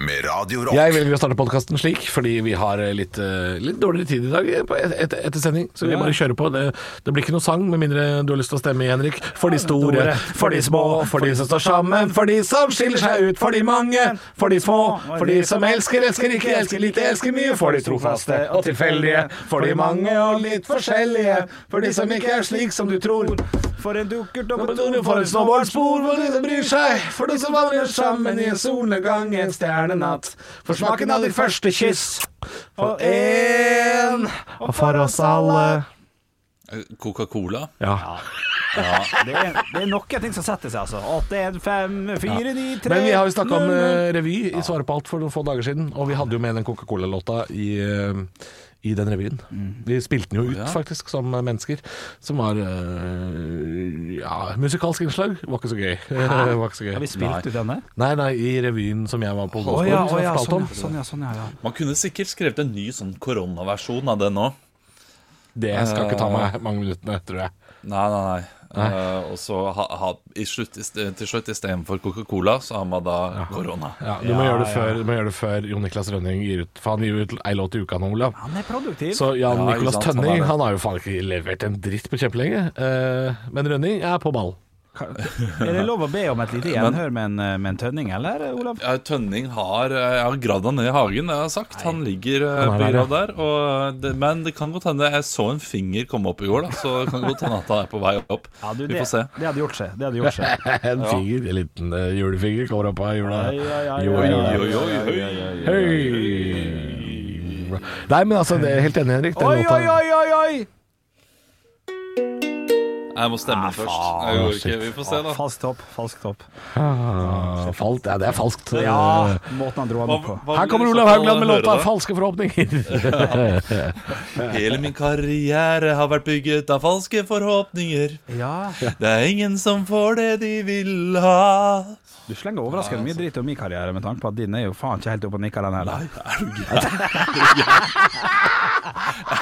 med Radio Rock. Jeg velger å starte podkasten slik, fordi vi har litt, eh, litt dårligere tid i dag eh, på et, et, etter sending. Så vi Ja. bare kjører på. Det, det blir ikke noe sang, med mindre du har lyst til å stemme, Henrik. For de store, for de små, for de som står sammen, for de som skiller seg ut, for de mange, for de små, for de som elsker, elsker ikke, elsker lite, elsker mye, for de trofaste og tilfeldige, for de mange og litt forskjellige, for de som ikke er slik som du tror. For en dukkert Nå og betyr det For et snowboardspor hvor de som bryr seg, for de som vandrer sammen i en solnedgang en stjernenatt. For smaken av ditt første kyss, for én og for oss alle. Coca-Cola. Ja. Det er, det er noen ting som setter seg, altså. 8, 1, 5, 4, 9, 3 Men vi har jo snakka om eh, revy i Svaret på alt for noen få dager siden, og vi hadde jo med den Coca-Cola-låta i eh, i den revyen. Mm. Vi spilte den jo ut, Ja. faktisk, som mennesker. Som var eh, ja, musikalsk innslag. Var ikke så gøy. var ikke så Har vi gøy. spilt ut denne? Nei, nei, i revyen som jeg var på. Å ja, som å jeg ja, fortalte sånn, om. ja, sånn, ja, sånn, ja, ja. Man kunne sikkert skrevet en ny sånn koronaversjon av den òg. Det skal ikke ta meg mange minuttene, tror jeg. Nei, nei, nei. Eh, og så ha, ha, i slutt, i ste- til slutt istedenfor Coca-Cola, så har man da korona. Ja, du, må gjøre det før, du må gjøre det før Jon Niklas Rønning gir ut For han gir ut ei låt i uka nå, Olav. Han er produktiv. Så Jan Ja, ikke Nicolas sant, han er Tønning det. han har jo faen ikke levert en dritt på kjempelenge. Eh, men Rønning er på ball. Er det lov å be om et lite gjenhør med en, eh, med en tønning, eller, Olav? Ja, Tønning har eh, Jeg har gravd han ned i hagen, det har jeg sagt. Han ligger eh, Han er på der, grav der. Og eh, det, men det kan godt hende jeg så en finger komme opp i går, da. Så det kan godt hende at han er på vei opp. Ja, du, Vi det, får se. Det hadde gjort seg. Det hadde gjort seg. En finger, en liten eh, julefinger, kommer opp av jula. Ai, ai, ai, Jo, jo, ai, ai, jo, jo, ai, jo. ai, ai, ai. Hei! Nei, men altså, det er helt enig, Henrik. Den Oi, oi, låta oi, oi, oi! Jeg må stemme først. Jeg gjorde ikke. Vi får se, da. Falsk topp, falsk topp. Ah, falt, ja, Det er falskt. Eh, Ja, måten han dro han Hva- opp på. hva Her vil kommer du i så Olav fall Haugland med høre, låta da? 'Falske forhåpninger'. Hele min karriere har vært bygget av falske forhåpninger. Ja, Det er ingen som får det de vil ha. Du slenger overraskende mye dritt om min karriere, med tanke på at din er jo faen ikke helt oppe og nikker, den heller. Jeg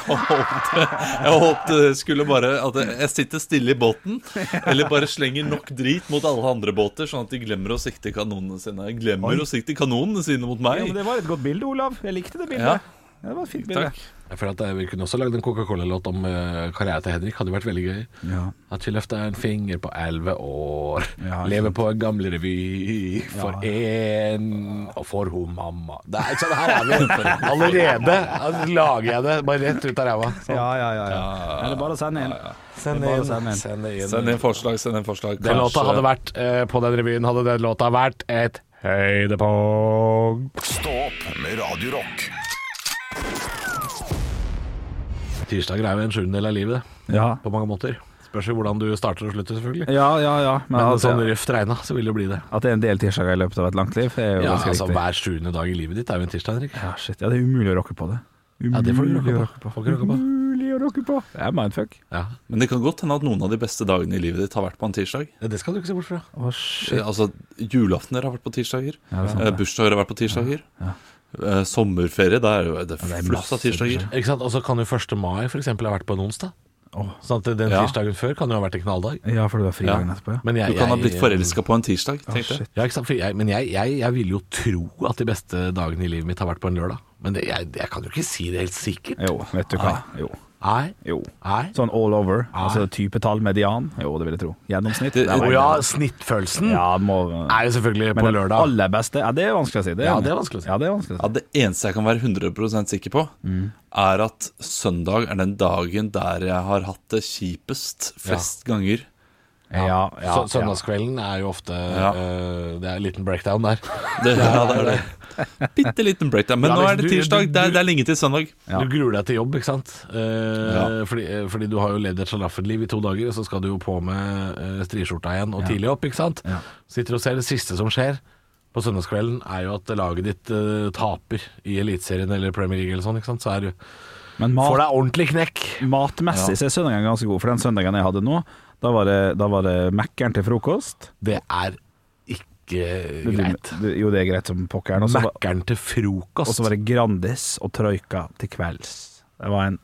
håpte, jeg håpte det skulle bare at jeg sitter stille i båten, eller bare slenger nok drit mot alle andre båter, sånn at de glemmer å sikte kanonene sine. Jeg glemmer å sikte kanonene sine mot Ja, men meg. det var et godt bilde, Olav. Jeg likte det Ja, bildet. Ja, det var et fint bilde. takk. Jeg føler at eh, Vi kunne også lagd en Coca-Cola-låt om eh, karrieren til Henrik. Hadde jo vært veldig gøy. Ja. Har ikke løfta en finger på elleve år. Ja, ikke Lever på en gamlerevy. For én og for ho mamma. Nei, så her er vi allerede. Altså, lager jeg det bare rett ut av ræva. Sånn. Ja, ja, ja, ja. Er det bare å sende inn? Send Bare inn. send inn. Send Send inn. inn forslag, send inn forslag. Den Kanskje- låta hadde vært eh, På den revyen hadde den låta vært et høydepunkt. Stå opp med Radio Rock. Tirsdager er jo en sjuendedel av livet, Ja. på mange måter. Spørs jo hvordan du starter og slutter, selvfølgelig. Ja, ja, ja. Men, Men altså, sånn røft regna, så vil det bli det. at det er en del tirsdager i løpet av et langt liv, er jo Ja, ganske altså riktig. Hver sjuende dag i livet ditt er jo en tirsdag, Henrik. Ja, shit. Ja, det er umulig å rokke på det. Umulig Ja, det får du rokke på. Får ikke rokke på. Umulig å rokke på. Det er mindfuck. Ja. Men det kan godt hende at noen av de beste dagene i livet ditt har vært på en tirsdag. Ja, Det skal du ikke se bort fra. Å, shit. Eh, Altså, julaftener har vært på tirsdager. Ja, det er sant, Eh, det. Bursdager har vært på tirsdager. Eh, Sommerferie, da er jo det er flust av masse tirsdager. Ikke sant? Og så kan jo 1. mai for eksempel ha vært på en onsdag. Åh. Sånn at den Ja. tirsdagen før kan jo ha vært en knalldag. Ja, for du har fri Ja. dagen etterpå, ja. Men jeg, Du kan ha jeg- blitt forelska på en tirsdag, tenkte jeg. shit. Ja, ikke sant? For jeg, men jeg, jeg, jeg vil jo tro at de beste dagene i livet mitt har vært på en lørdag. Men det, jeg, jeg kan jo ikke si det helt sikkert. Jo, vet du hva. Jo. Nei. Jo. Nei. Sånn all over. Altså typetall, median. Jo, det vil jeg tro. Gjennomsnitt. Det- Nei, Å nei, ja, nei. snittfølelsen Ja, må, er jo selvfølgelig på den lørdag. aller beste Ja, det er vanskelig å si. Det Ja, det er vanskelig å si. Ja, det er vanskelig å si. Ja, det eneste jeg kan være 100 sikker på, er at søndag er den dagen der jeg har hatt det kjipest flest ganger. Ja, ja, Så, søndagskvelden er jo ofte øh, Det er en liten breakdown der. Det, ja, det er det. Bitte liten breakdown. Men Ja, nå liksom, er det du- tirsdag. du- Det du- er, det er lenge til søndag. Ja. Du gruer deg til jobb, ikke sant? Eh, fordi, eh, fordi du har jo levd et sjalaffenliv i to dager, og så skal du jo på med eh, striskjorta igjen og tidlig opp, ikke sant? Ja. Sitter og ser det siste som skjer på søndagskvelden, er jo at laget ditt eh, taper i Eliteserien eller Premier League eller sånn, ikke sant? Så er du, Men får mat, deg ordentlig knekk. matmessig så er søndagen ganske god, for den søndagen jeg hadde nå, da var det, da var det Mækkern til frokost. Det er ikke Det blir- greit. det- Jo, det er greit som pokkeren. Og så var- Mækkern til og så frokost. var det Grandis og Troika til kvelds. Det var en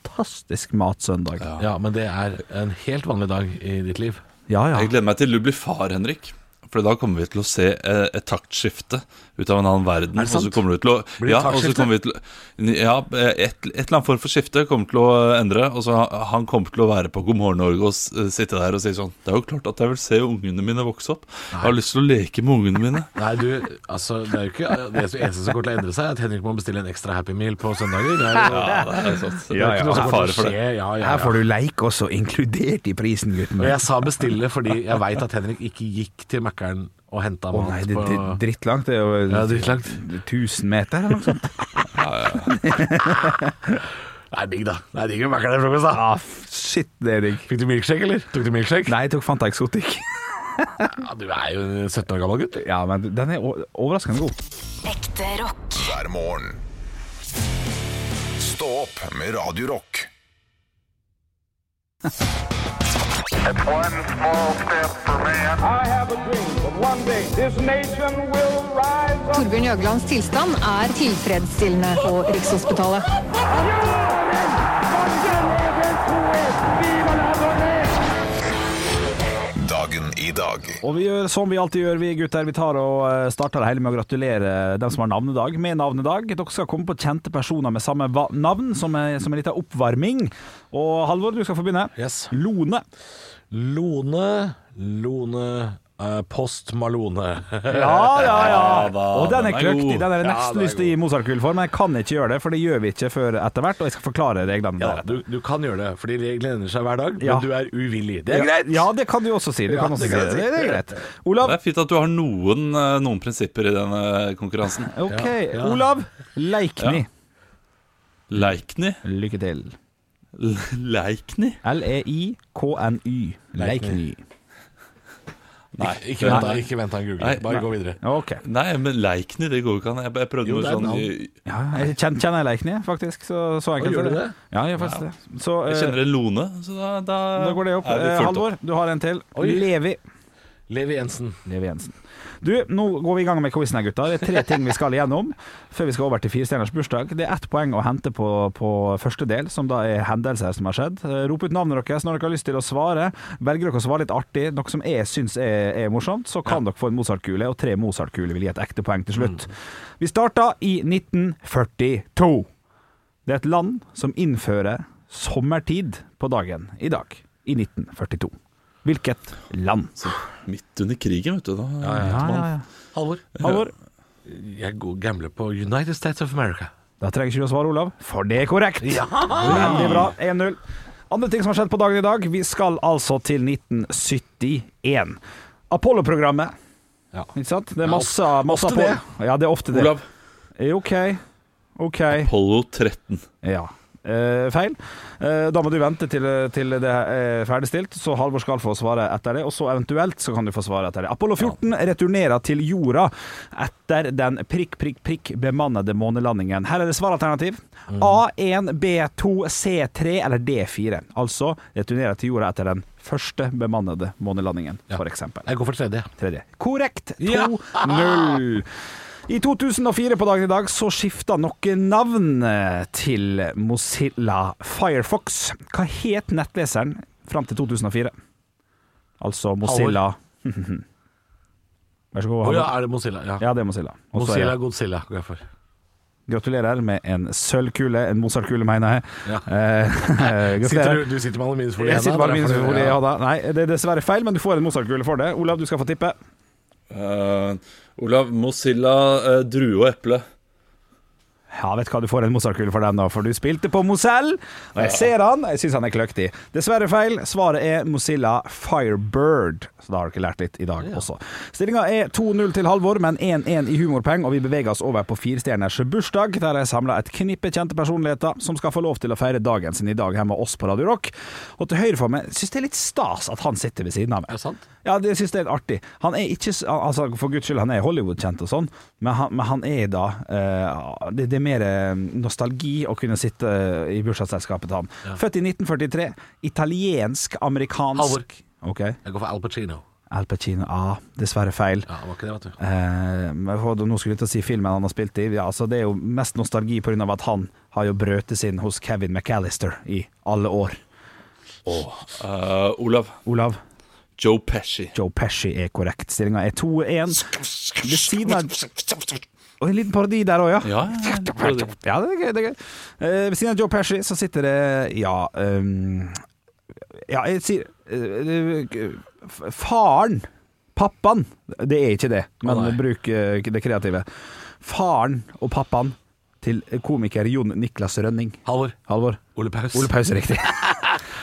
fantastisk matsøndag. Ja, Ja, men det er en helt vanlig dag i ditt liv. ja. Jeg gleder meg til du blir far, Henrik. For da kommer vi til å se eh, et taktskifte ut av en annen verden. Er det sant? Og så kommer du til å, Blir det ja, og så taktskifte? kommer vi til, å- ja, eh, et, et eller annet form for skifte kommer til å eh, endre. Og så han- Han kommer til å være på God morgen Norge og s- sitte der og si sånn Det er jo klart at jeg vil se ungene mine vokse opp. Jeg har lyst til å leke med ungene mine. Nei, du, altså, det er jo ikke Det eneste som kommer til å endre seg, er at Henrik må bestille en ekstra Happy Meal på søndager. Det er jo Ja, det er sant. det er ja, ikke noe som det er kommer fare til å for det. skje. Ja, ja, ja. Her får du leik også inkludert i prisen, gutten Og min. jeg sa bestille fordi jeg veit at Henrik ikke gikk til Mækkern og henta Å mat nei, det på er drittlangt. Det er jo Ja, drittlangt. 1000 meter eller noe sånt. Det er digg, da. Det er digg med Mækkern i frokost, da. Ah, f- shit, det er digg. Fikk du milkshake, eller? Tok du milkshake? Nei, jeg tok Fanta Exotic. Ja, du er jo en 17 år gammel gutt. du. Ja, men den er o- overraskende god. Ekte rock. hver morgen. Stå opp med Radio Rock. One small step for man. I have a dream that one day this nation will rise up. Torbjørn Jøglands tilstand er tilfredsstillende på Rikshospitalet. Dagen i dag. Og vi gjør som vi alltid gjør, vi gutter. Vi tar og eh, starter det hele med å gratulere dem som har navnedag, med navnedag. Dere skal komme på kjente personer med samme va- navn, som, er, som en liten oppvarming. Og Halvor, du skal få begynne. Yes. Lone. Lone, Lone eh, Post Malone. Ja, ja, ja. da, Og den er den er kløktig. god. Den er Ja, nesten den er lyst til å gi Mozart-kull for, men jeg kan ikke gjøre det, for det gjør vi ikke før etter hvert. Og jeg skal forklare reglene Ja, der. du, du kan gjøre det, fordi reglene endrer seg hver dag, Ja. men du er uvillig. Det er Ja, greit! Ja, det kan du også si. Du Ja, kan også det si kan det. jeg si. Det er greit. Olav. sånn. Det er fint at du har noen, eh, noen prinsipper i denne eh, konkurransen. Ok. Ja, ja. Olav Leikny. Ja. Leikny. Lykke til. E Leikny? L-e-i-k-n-y. Leikny. Nei. Ikke vent, da. Ikke vent, han googler. Nei, Bare gå videre. Ok. Nei, men Leikny, det går jo ikke an. Jeg, jeg prøvde Jo, noe det er et sånn navn. i- Ja, jeg kjenner, kjenner jeg Leikny, faktisk. Så, så enkelt gjør er du det? Ja, jeg gjør faktisk det. Så Jeg eh, kjenner en lone, så da, da, da går det opp. er vi Eh, fullt opp. Halvor, du har en til. Oi. Levi. Levi Jensen. Levi Jensen. Du, nå går vi i gang med quizen her, gutter. Det er tre ting vi skal igjennom før vi skal over til firestjerners bursdag. Det er ett poeng å hente på, på første del, som da er hendelser som har skjedd. Eh, Rop ut navnet deres når dere har lyst til å svare. Velger dere å svare litt artig, noe som jeg syns er, er morsomt, så kan dere få en Mozart-kule, og tre Mozart-kuler vil gi et ekte poeng til slutt. Vi starta i 1942. Det er et land som innfører sommertid på dagen i dag, i 1942. Hvilket land? Så midt under krigen, vet du. Da, Halvor. Halvor? Jeg går- gambler på United States of America. Da trenger ikke du å svare, Olav, for det er korrekt. Veldig bra. 1-0. Andre ting som har skjedd på dagen i dag. Vi skal altså til 1971. Apollo-programmet. Ja. Ikke sant? Det er Ja, masse, masse ofte det. Apollo- Ja, det er ofte det. Olav. Eh, OK. OK. Apollo 13. Ja. Eh, feil. Eh, da må du vente til, til det er ferdigstilt, så Halvor skal få svare etter det. Og så eventuelt så kan du få svare etter det. Apollo 14 returnerer til jorda etter den prikk, prikk, prikk bemannede månelandingen. Her er det svaralternativ. A1, B2, C3 eller D4. Altså returnerer til jorda etter den første bemannede månelandingen, Ja. for eksempel. Jeg går for tredje. Tredje. Korrekt. Ja. 2-0. I 2004 på dagen i dag så skifta noen navn eh, til Mozilla Firefox. Hva het nettleseren fram til 2004? Altså Mozilla Vær så god. Å Halvor. ja, er det Mozilla? Ja. Ja, det er Mozilla. Og så er Mozilla det- Godzilla går jeg for. Gratulerer med en sølvkule. En Mozart-kule, mener jeg. Ja. Eh, Sitter du, gratulerer. du sitter med aluminiumsfolie Jeg sitter bare med min Ja. ja, da. Nei, det er dessverre feil, men du får en Mozart-kule for det. Olav, du skal få tippe. Eh, Olav, Mozilla, eh, drue og eple. Ja, vet du hva, du får en Mozart-kule for den, da, for du spilte på Mozell, og jeg ser han. Jeg syns han er kløktig. Dessverre feil. Svaret er Mozilla Firebird, så da har dere lært litt i dag også. Stillinga er 2-0 til Halvor, men 1-1 i humorpeng, og vi beveger oss over på firestjerners bursdag, der jeg samla et knippe kjente personligheter som skal få lov til å feire dagen sin i dag her med oss på Radio Rock. Og til høyre for meg syns det er litt stas at han sitter ved siden av meg. Er det sant? Ja, det synes jeg er artig. Han er ikke s- altså, For guds skyld, han er Hollywood-kjent og sånn, men han, men han er da eh, det, det er mer eh, nostalgi å kunne sitte eh, i bursdagsselskapet til han. Født i 1943. Italiensk-amerikansk Halvor. Ok. Jeg går for Al Pacino. Al Pacino ah, dessverre feil. Ja, det var ikke det, vet du. Eh, men for- nå skulle jeg til å si filmen han har spilt i. Ja, altså, det er jo mest nostalgi pga. at han har jo brøtes inn hos Kevin McAllister i alle år. Eh, Olav. Olav, Joe Pesci. Joe Pesci er korrekt. Stillinga er 2-1. Ved siden av Og en liten parodi der òg, ja. Ja, ja, ja. Ja, det er gøy. Det er gøy. Eh, ved siden av Joe Pesci så sitter det Ja, ehm, ja jeg sier eh, eh, f- Faren. Pappaen. Det er ikke det, men Å, nei. bruk eh, det kreative. Faren og pappaen til komiker Jon Niklas Rønning. Halvor. Halvor. Ole Paus. Ole Pause, riktig.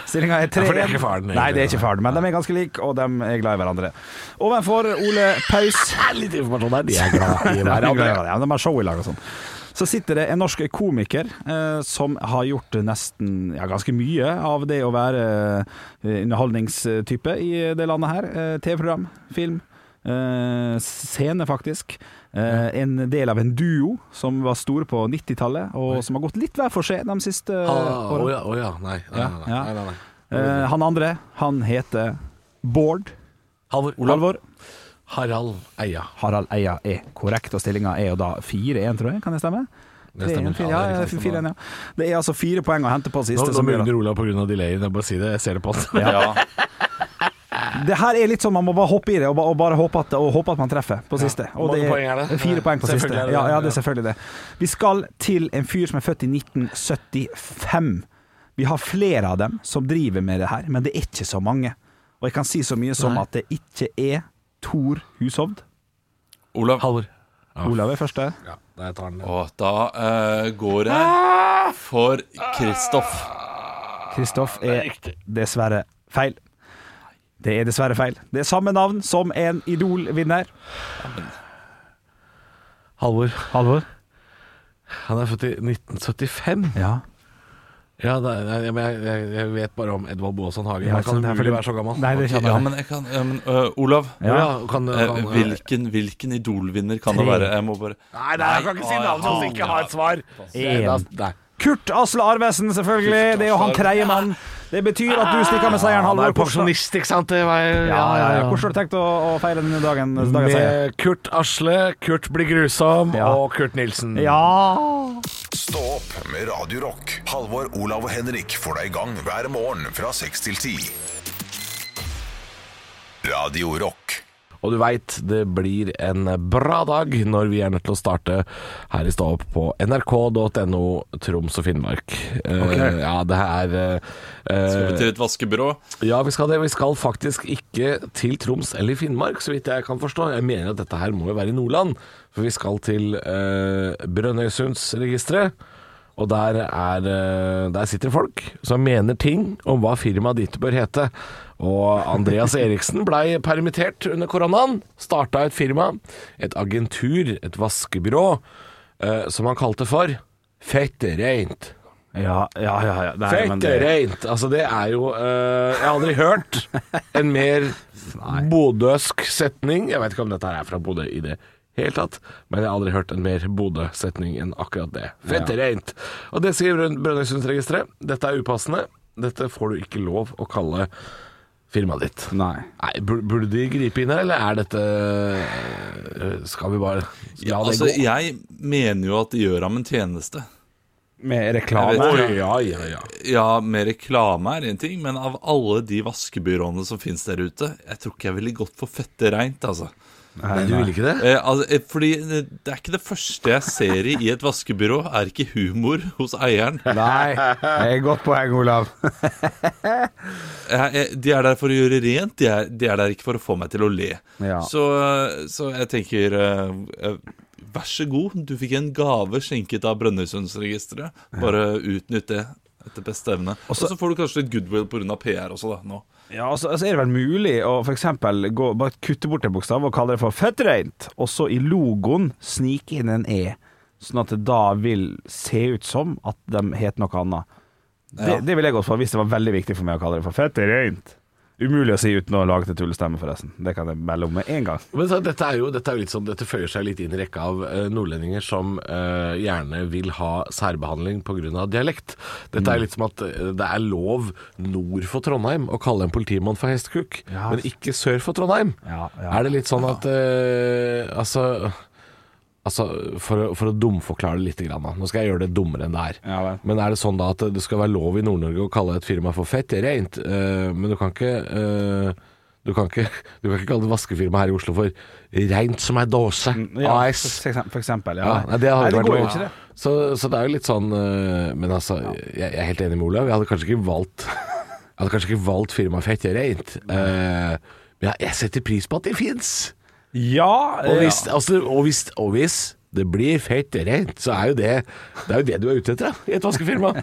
Stillinga er tre. Ja, for det er ikke faren, Nei, det er egentlig. ikke faren, men de er ganske like, og de er glad i hverandre. Ovenfor Ole Paus Litt informasjon der. De er glad i ja, de er glad i hverandre. hverandre. Ja, de har show i lag og sånn. Så sitter det en norsk komiker eh, som har gjort nesten ja, ganske mye av det å være eh, underholdningstype i det landet her. Eh, TV-program, film, eh, scene faktisk. Eh, en del av en duo som var stor på 90-tallet, og som har gått litt hver for seg de siste eh, Å årene. ja, Ah, å ja. Nei, nei, Ja, nei, ja. nei, nei, nei. Eh, han andre, han heter Bård Halvor. Alvor. Harald Eia. Harald Eia er korrekt, og stillinga er jo da 4-1, tror jeg. Kan det stemme? Det stemmer. Ja, det 3-1, Ja, er ja, riktig, det 4-1, ja. Det er altså fire poeng å hente på Nå, siste. nå som gjør at- mugner Olav pga. delayen. Jeg bare si det, jeg ser det på han. Ja. Det her er litt sånn man må bare hoppe i det, og bare, og bare håpe, at, og håpe at man treffer på siste. Hvor Og mange det poeng er det? Fire poeng på Selvfølgelig siste. er det det, Ja, ja, det er ja. selvfølgelig det. Vi skal til en fyr som er født i 1975. Vi har flere av dem som driver med det her, men det er ikke så mange. Og jeg kan si så mye som Nei. at det ikke er Tor Hushovd. Olav. Halvor. Olav er første. Ja, jeg tar den. Og da eh, går jeg for Kristoff. Kristoff er dessverre feil. Det er dessverre feil. Det er samme navn som en Idol-vinner. Halvor. Halvor? Han er født i 1975. Ja. Ja, da, jeg, men jeg- jeg, jeg vet bare om Edvard Boasson Hagen. Ja, Han kan sant, det er umulig fordi- være så gammel. Nei, det Ja, kjenner jeg. men jeg kan ja, men, eh, Olav. ja. kan, Eh, kan, hvilken hvilken Idol-vinner kan det Tre. være? Jeg må bare Nei, nei, jeg kan ikke si Nei, navnet hans han- og ikke ha et svar. En. Da- Nei. Kurt Asle Arvesen, selvfølgelig. Det er jo han tredje mann. Det betyr at du stikker med seieren, Han Halvor. er pensjonist, ikke sant? Det var, Ja, ja, ja. Hvordan har du tenkt å, å feire denne dagen, dagens seier? Med Kurt Asle, Kurt blir grusom Ja. og Kurt Nilsen. Ja Stå opp med Radio Rock. Halvor, Olav og Henrik får deg i gang hver morgen fra 6 til 10. Radio Rock. Og du veit, det blir en bra dag når vi er nødt til å starte her i Stå opp på nrk.no Troms og Finnmark. Eh, ja, det her eh, Skal vi til et vaskebyrå? Ja, vi skal det. Vi skal faktisk ikke til Troms eller Finnmark, så vidt jeg kan forstå. Jeg mener at dette her må jo være i Nordland, for vi skal til eh, Brønnøysundsregisteret. Og der, er, eh, der sitter folk som mener ting om hva firmaet ditt bør hete. Og Andreas Eriksen blei permittert under koronaen. Starta et firma, et agentur, et vaskebyrå, eh, som han kalte for Fette Reint. Ja, ja, ja. ja. Nei, men Fette det- reint. Altså, det er jo eh, Jeg har aldri hørt en mer bodøsk setning. Jeg vet ikke om dette her er fra Bodø i det hele tatt, men jeg har aldri hørt en mer Bodø-setning enn akkurat det. Fette reint. Og det sier Brønn- Brønnøysundsregisteret. Dette er upassende. Dette får du ikke lov å kalle firmaet ditt. Nei. Nei, bur- Burde de gripe inn her, eller er dette eh, Skal vi bare la det Altså, gå? jeg mener jo at de gjør ham en tjeneste. Med Jeg reklame. vet Oi, ja, ja, ja. Ja, med reklame er en ting, men av alle de vaskebyråene som finnes der ute, jeg tror ikke jeg ville gått for fette reint, altså. Nei, du vil ikke det? Eh, altså eh, fordi eh, det er ikke det første jeg ser i, i et vaskebyrå, er ikke humor hos eieren. Nei. Det er godt poeng, Olav. Jeg, jeg, Eh, de er der for å gjøre rent, de er, de er der ikke for å få meg til å le. Ja. Så, eh, så jeg tenker eh, eh, Vær så god, du fikk en gave skjenket av Brønnøysundsregisteret. Bare utnytt det etter beste evne. Og så får du kanskje litt goodwill pga. PR også, da. nå Ja, altså, altså er det vel mulig å for eksempel gå, bare kutte bort en bokstav og kalle det for fettreint, og så i logoen snike inn en E, sånn at det da vil se ut som at de heter noe annet. Det, det ville jeg gått for hvis det var veldig viktig for meg å kalle det for fettreint. Umulig å si uten å lage til tullestemme, forresten. Det kan jeg melde om med en gang. Men så, dette, er jo, dette er jo litt sånn Dette føyer seg litt inn i rekka av eh, nordlendinger som eh, gjerne vil ha særbehandling pga. dialekt. Dette Mm. er litt som at eh, det er lov nord for Trondheim å kalle en politimann for hestekuk, Ja. men ikke sør for Trondheim. Ja, ja. Er det litt sånn at eh, Altså Altså, for, å- for å dumforklare det litt, grann, da. nå skal jeg gjøre det dummere enn det er. Ja vel. men er det sånn da at det skal være lov i Nord-Norge å kalle et firma for fett? Det er rent, eh, men du kan ikke eh, du kan ikke, du kan ikke kalle det vaskefirma her i Oslo for Reint som ei dåse Mm, Ja, AS. for eksempel. For eksempel ja. Ja, nei, det hadde Nei, det vært går jo lov. ikke, det. Så, så det er jo litt sånn eh, Men altså, jeg, jeg er helt enig med Olav. Jeg hadde kanskje ikke valgt Jeg hadde kanskje ikke valgt firmaet Fett gjør rent. Eh, men jeg, jeg setter pris på at de fins. Ja, Og, eh, hvis- altså, og, hvis- og hvis det blir fett rent, så er jo det Det er jo det du er ute etter da, i et vaskefirma.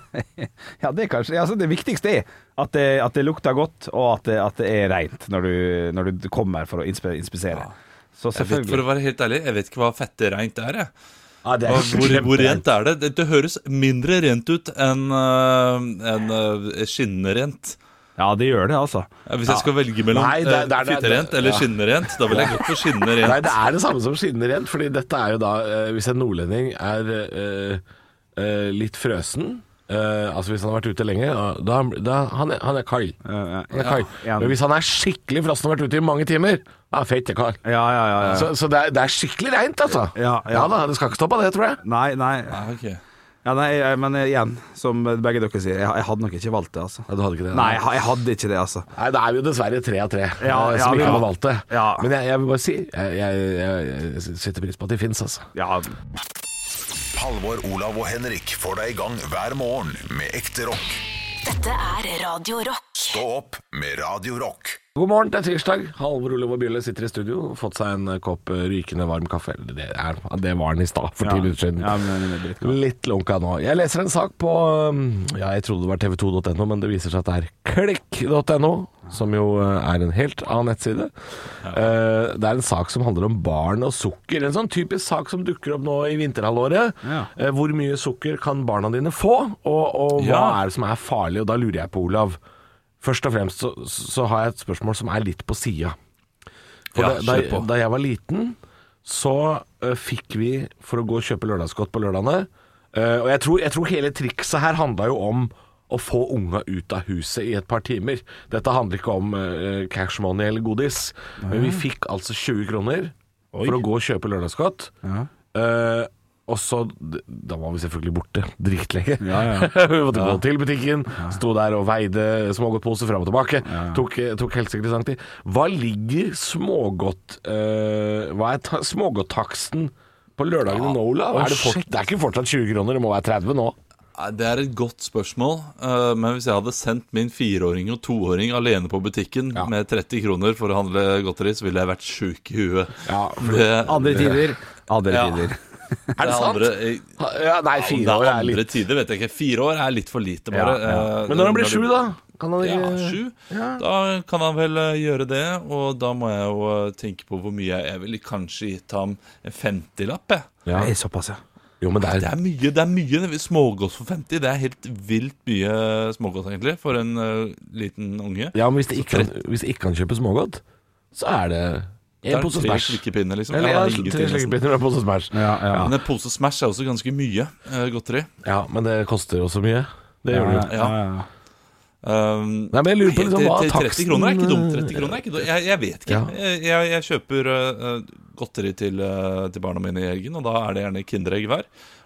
ja, det er kanskje altså, Det viktigste er at det, at det lukter godt, og at det, at det er rent når du, når du kommer for å inspe, inspisere. Så Jeg vet, for å selvfølgelig. være helt ærlig, jeg vet ikke hva fettereint er. Jeg. Ja, det Hva- Hvor, hvor rent er det? det? Det høres mindre rent ut enn uh, en, skinnende rent. Ja, det gjør det, altså. Ja, Hvis jeg skal velge mellom Nei, det er- eh, det er- det er- fitterent eller ja. skinnerent, da vil jeg gått for skinnende Nei, rent. det er det samme som skinner rent, fordi dette er jo da eh, Hvis en nordlending er eh, eh, litt frøsen eh, altså Hvis han har vært ute lenge, da- da, da han, er, han er kald. ja, Han er kald. ja. Men hvis han er skikkelig frossen og har vært ute i mange timer, da er han feit kald. Ja, ja, ja. ja. Så, så det, er, det er skikkelig reint, altså. Ja, ja. da, Det skal ikke stå på det, tror jeg. Nei, nei. Ah, ok. Ja, nei, jeg- men igjen, som begge dere sier, jeg, jeg hadde nok ikke valgt det, altså. Nei, du hadde ikke det? Nei, jeg, jeg hadde ikke det, altså. Nei, det er jo dessverre tre av tre Ja, eh, ja, som vi ikke har må- valgt det. Ja. Men jeg, jeg vil bare si jeg, jeg, jeg, jeg setter pris på at de fins, altså. Ja, Halvor, Olav og Henrik får deg i gang hver morgen med ekte rock. Dette er Radio Rock. Stå opp med Radio Rock. God morgen, det er tirsdag. Halvor Olav og Bjølle sitter i studio og fått seg en eh, kopp eh, rykende varm kaffe. Eller Det, er, det var den i stad, for ti minutter siden. Ja, men den er dritgod. Litt lunka nå. Jeg leser en sak på um, Ja, jeg trodde det var tv2.no, men det viser seg at det er klikk.no, som jo eh, er en helt annen nettside. Eh, Det er en sak som handler om barn og sukker. En sånn typisk sak som dukker opp nå i vinterhalvåret. Ja. Eh, Hvor mye sukker kan barna dine få, og, og hva Ja. er det som er farlig? Og da lurer jeg på, Olav. Først og fremst så, så har jeg et spørsmål som er litt på sida. For Ja, da, kjør da, på. da jeg var liten, så eh, fikk vi for å gå og kjøpe lørdagsgodt på lørdagene. eh, og jeg tror, jeg tror hele trikset her handla jo om å få unga ut av huset i et par timer. Dette handler ikke om eh, cash money eller godis, men vi fikk altså 20 kroner for å gå og kjøpe lørdagsgodt. Eh, og så Da var vi selvfølgelig borte dritlenge. vi måtte gå til butikken, sto der og veide smågodtposer fram og tilbake. Tok, eh, tok helt sikkert lang tid. Hva ligger smågodt eh, Hva er ta- smågodttaksten på lørdagene nå, Olav? Er det, fort, det er ikke fortsatt 20 kroner, det må være 30 nå. Nei, Det er et godt spørsmål, eh, men hvis jeg hadde sendt min fireåring og toåring alene på butikken med 30 kroner for å handle godteri, så ville jeg vært sjuk i huet. Ja, for det, andre tider. Andre Ja. tider. Er det sant? Andre, jeg, Ja, nei, det fire er år er andre litt tider, vet jeg ikke. Fire år er litt for lite, bare. Eh, Men når han blir sju, da? Kan han Ja, ikke sju. Da kan han vel eh, gjøre det, og da må jeg jo eh, tenke på hvor mye jeg, jeg ville kanskje gitt ham en 50-lapp, jeg. Ja. Det er såpass, ja. Jo, men det Det er er mye. det er mye Smågodt for 50. Det er helt vilt mye smågodt, egentlig, for en eh, liten unge. Ja, men hvis det ikke, kan- hvis det ikke kan kjøpe smågodt, så er det Det en er pose tre Smash. slikkepinner, liksom. Eller ja, Ja, det er tre ingenting, nesten. slikkepinner og en pose Smash. Ja, ja. Men en pose Smash er også ganske mye eh, godteri. Ja, men det koster jo så mye. Det gjør det jo. Ja. ja. Um, Nei, men jeg lurer på liksom, til- hva til 30 taksten- eh, kroner er ikke dumt. 30 kroner er ikke dumt. Jeg, jeg vet ikke. Ja. Jeg, jeg, jeg kjøper eh, godteri til, eh, til barna mine i helgen, og da er det gjerne Kinderegg hver.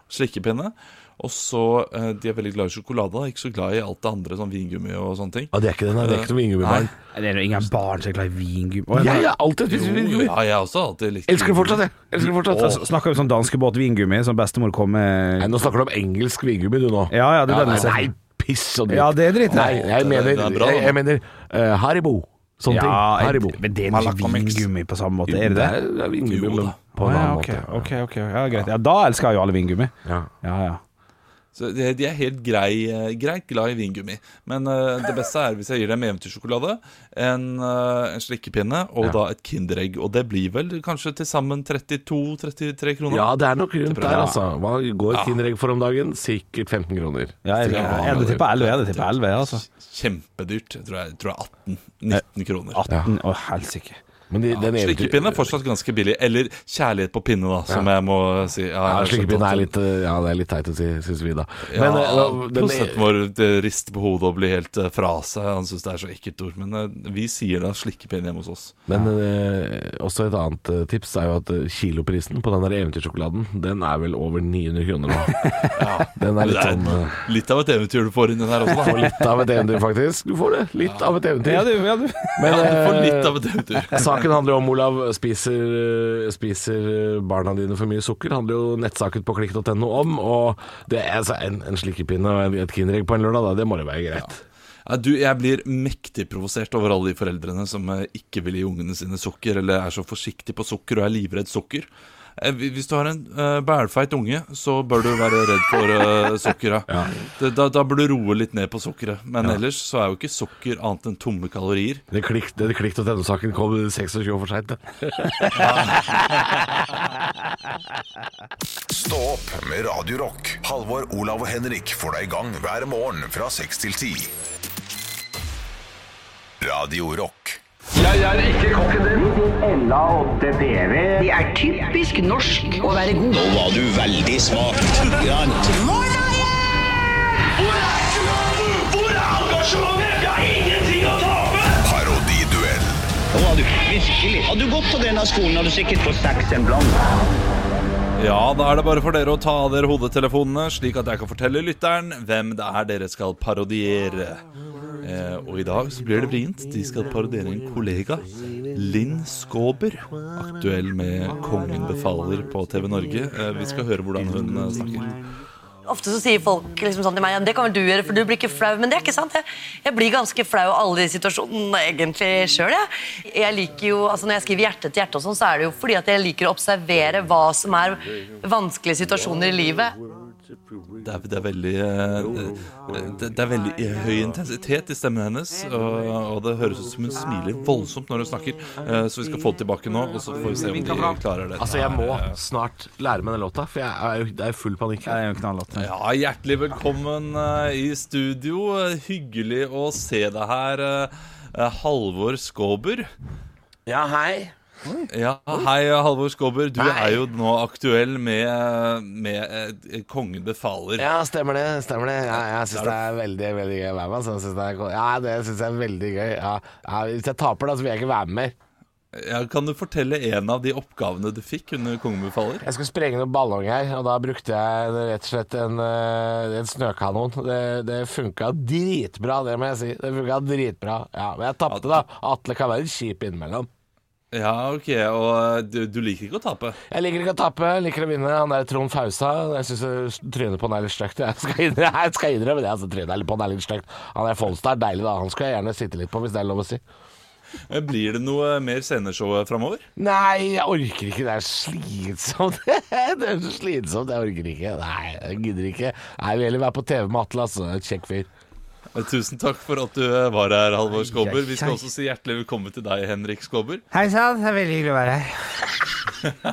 Slikkepinne. Og så eh, De er veldig glad i sjokolade, da, ikke så glad i alt det andre, sånn vingummi og sånne ting. Ja, det er ikke den, det er ikke noe vingummibarn. Det er jo ingen barn som er glad i vingummi. Å, Jeg nei. har alltid spist Jo, vingummi. ja, jeg har også alltid likt Elsker det fortsatt, jeg. Elsker det fortsatt. Altså, Så Snakker vi sånn danskebåt-vingummi som bestemor kom Nei, med nå snakker du om engelsk vingummi, du nå. Ja, ja, det er den nei, jeg ser. nei, piss og dritt. Ja, det er dritt. Nei, jeg det- mener, det er bra, da. jeg, jeg mener eh, Haribo. sånn Sånne ting. Ja, Haribo. men det er jo ikke vingummi på samme måte, er det det? Det er vingummi, Jo da. men på Å, en ja, annen ok, måte. ok, ok. Ja, greit. Ja, da elsker jeg jo alle vingummi. Ja. Ja, ja. Så de, de er helt grei, eh, greit glad i vingummi. Men eh, det beste er hvis jeg gir dem eventyrsjokolade, en, eh, en slikkepinne og da et Kinderegg. Og det blir vel kanskje til sammen 32-33 kroner? Ja, det er nok rundt Det er bra. der, altså. Hva går Kinderegg for om dagen? Sikkert 15 kroner. Ja, jeg, jeg, jeg, jeg tipper 11, jeg hadde tippet 11, altså. Kjempedyrt. Jeg tror jeg, jeg tror det er Eh, 18-19 kroner. 18, å helsike. Men de, den eventyr- Slikkepinne er fortsatt ganske billig. Eller kjærlighet på pinne, da, som jeg må si. Ja, Ja, jeg har skjønt Slikkepinne at- er litt eh, Ja, det er litt teit å si, syns vi, da. Ja, Men eh, den, prosenten vår eh, rister på hodet og blir helt eh, fra seg. Han syns det er så ekkelt ord. Men eh, vi sier da slikkepinne hjemme hos oss. men eh, også et annet eh, tips er jo at eh, kiloprisen på den der eventyrsjokoladen, den er vel over 900 kroner nå. Den er Det litt er sånn eh, litt av et eventyr du får inni der også, Får da. litt av et eventyr, faktisk. Du får det. Litt av et eventyr. Ja, du, ja, du. Men, Ja, du får eh, litt av et eventyr. Saken handler jo om, Olav, spiser, eh, spiser barna dine for mye sukker? handler jo nettsaken på klikk.no om. Og det er altså en, en slikkepinne og en- et Kinderegg på en lørdag, da, det må da være greit. Ja, du, jeg blir mektig provosert over alle de foreldrene som eh, ikke vil gi ungene sine sukker, eller er så forsiktig på sukker og er livredd sukker. Eh, hvi- Hvis du har en uh, bælfeit unge, så bør du være redd for eh, sukkeret. Det- Da, da bør du roe litt ned på sukkeret. Men ellers så er jo ikke sukker annet enn tomme kalorier. Det klikk- det klikk.no-saken kom 26 år for seint. Stå opp med Radio Rock. Halvor, Olav og Henrik får deg i gang hver morgen fra 6 til 10. Radio Rock. Parodiduell. Ja, da er det bare for dere å ta av dere hodetelefonene, slik at jeg kan fortelle lytteren hvem det er dere skal parodiere. Eh, og i dag så blir det vrient. De skal parodiere en kollega. Linn Skåber. Aktuell med 'Kongen befaler' på TV Norge. Eh, vi skal høre hvordan hun eh, snakker. Ofte så sier folk liksom sånn til meg ja, det kan vel du gjøre, for du blir ikke flau. Men det er ikke sant. Jeg, jeg blir ganske flau av alle de situasjonene egentlig sjøl. Jeg. jeg liker jo, altså Når jeg skriver hjerte til hjerte, og sånn, så er det jo fordi at jeg liker å observere hva som er vanskelige situasjoner i livet. Det er, det er veldig eh, det, det er veldig i- høy intensitet i stemmen hennes. Og, og det høres ut som hun smiler voldsomt når hun snakker. Eh, så vi skal få det tilbake nå, og så får vi se om de klarer det. Altså, jeg må snart lære meg den låta, for jeg er jo det er full panikk. Det er jo en knallåt. Ja, hjertelig velkommen eh, i studio. Eh, Hyggelig å se deg her, eh, eh, Halvor Skåber. Ja, hei. Ja, hei, eh, Halvor Skåber. Du Hei. er jo nå aktuell med, med eh, Kongen befaler. Ja, stemmer det. stemmer det ja, Jeg syns det er veldig veldig gøy å være med. altså. Jeg synes det er, ko- ja, det syns jeg er veldig gøy. Ja. Ja, hvis jeg taper, da, så vil jeg ikke være med mer. Ja, kan du fortelle en av de oppgavene du fikk under Kongen befaler? Jeg skulle sprenge noen ballong her, og da brukte jeg rett og slett en, eh, en snøkanon. Det, det funka dritbra, det må jeg si. Det funka dritbra. Ja, men jeg tapte, da. Atle kan være kjip innimellom. Ja, ok, og eh, du, du liker ikke å tape. Jeg liker ikke å tape, jeg liker å vinne. Han der Trond Fausa, jeg syns trynet på han er litt stygt. Jeg skal innrø- jeg skal innrømme det. Altså, trynet på han er litt stygt. Han der Folstad er deilig, da. Han skulle jeg gjerne sitte litt på, hvis det er lov å si. Eh, Blir det noe mer sceneshow framover? Nei, jeg orker ikke. Det er slitsomt. det er så slitsomt. Jeg orker ikke. Nei, jeg gidder ikke. Nei, Jeg vil heller være på TV med Atle, altså. Kjekk fyr. Eh, Tusen takk for at du eh, var her, Halvor Skåber. Vi skal også si hjertelig velkommen til deg, Henrik Skåber. Hei sann, det er veldig hyggelig å være her.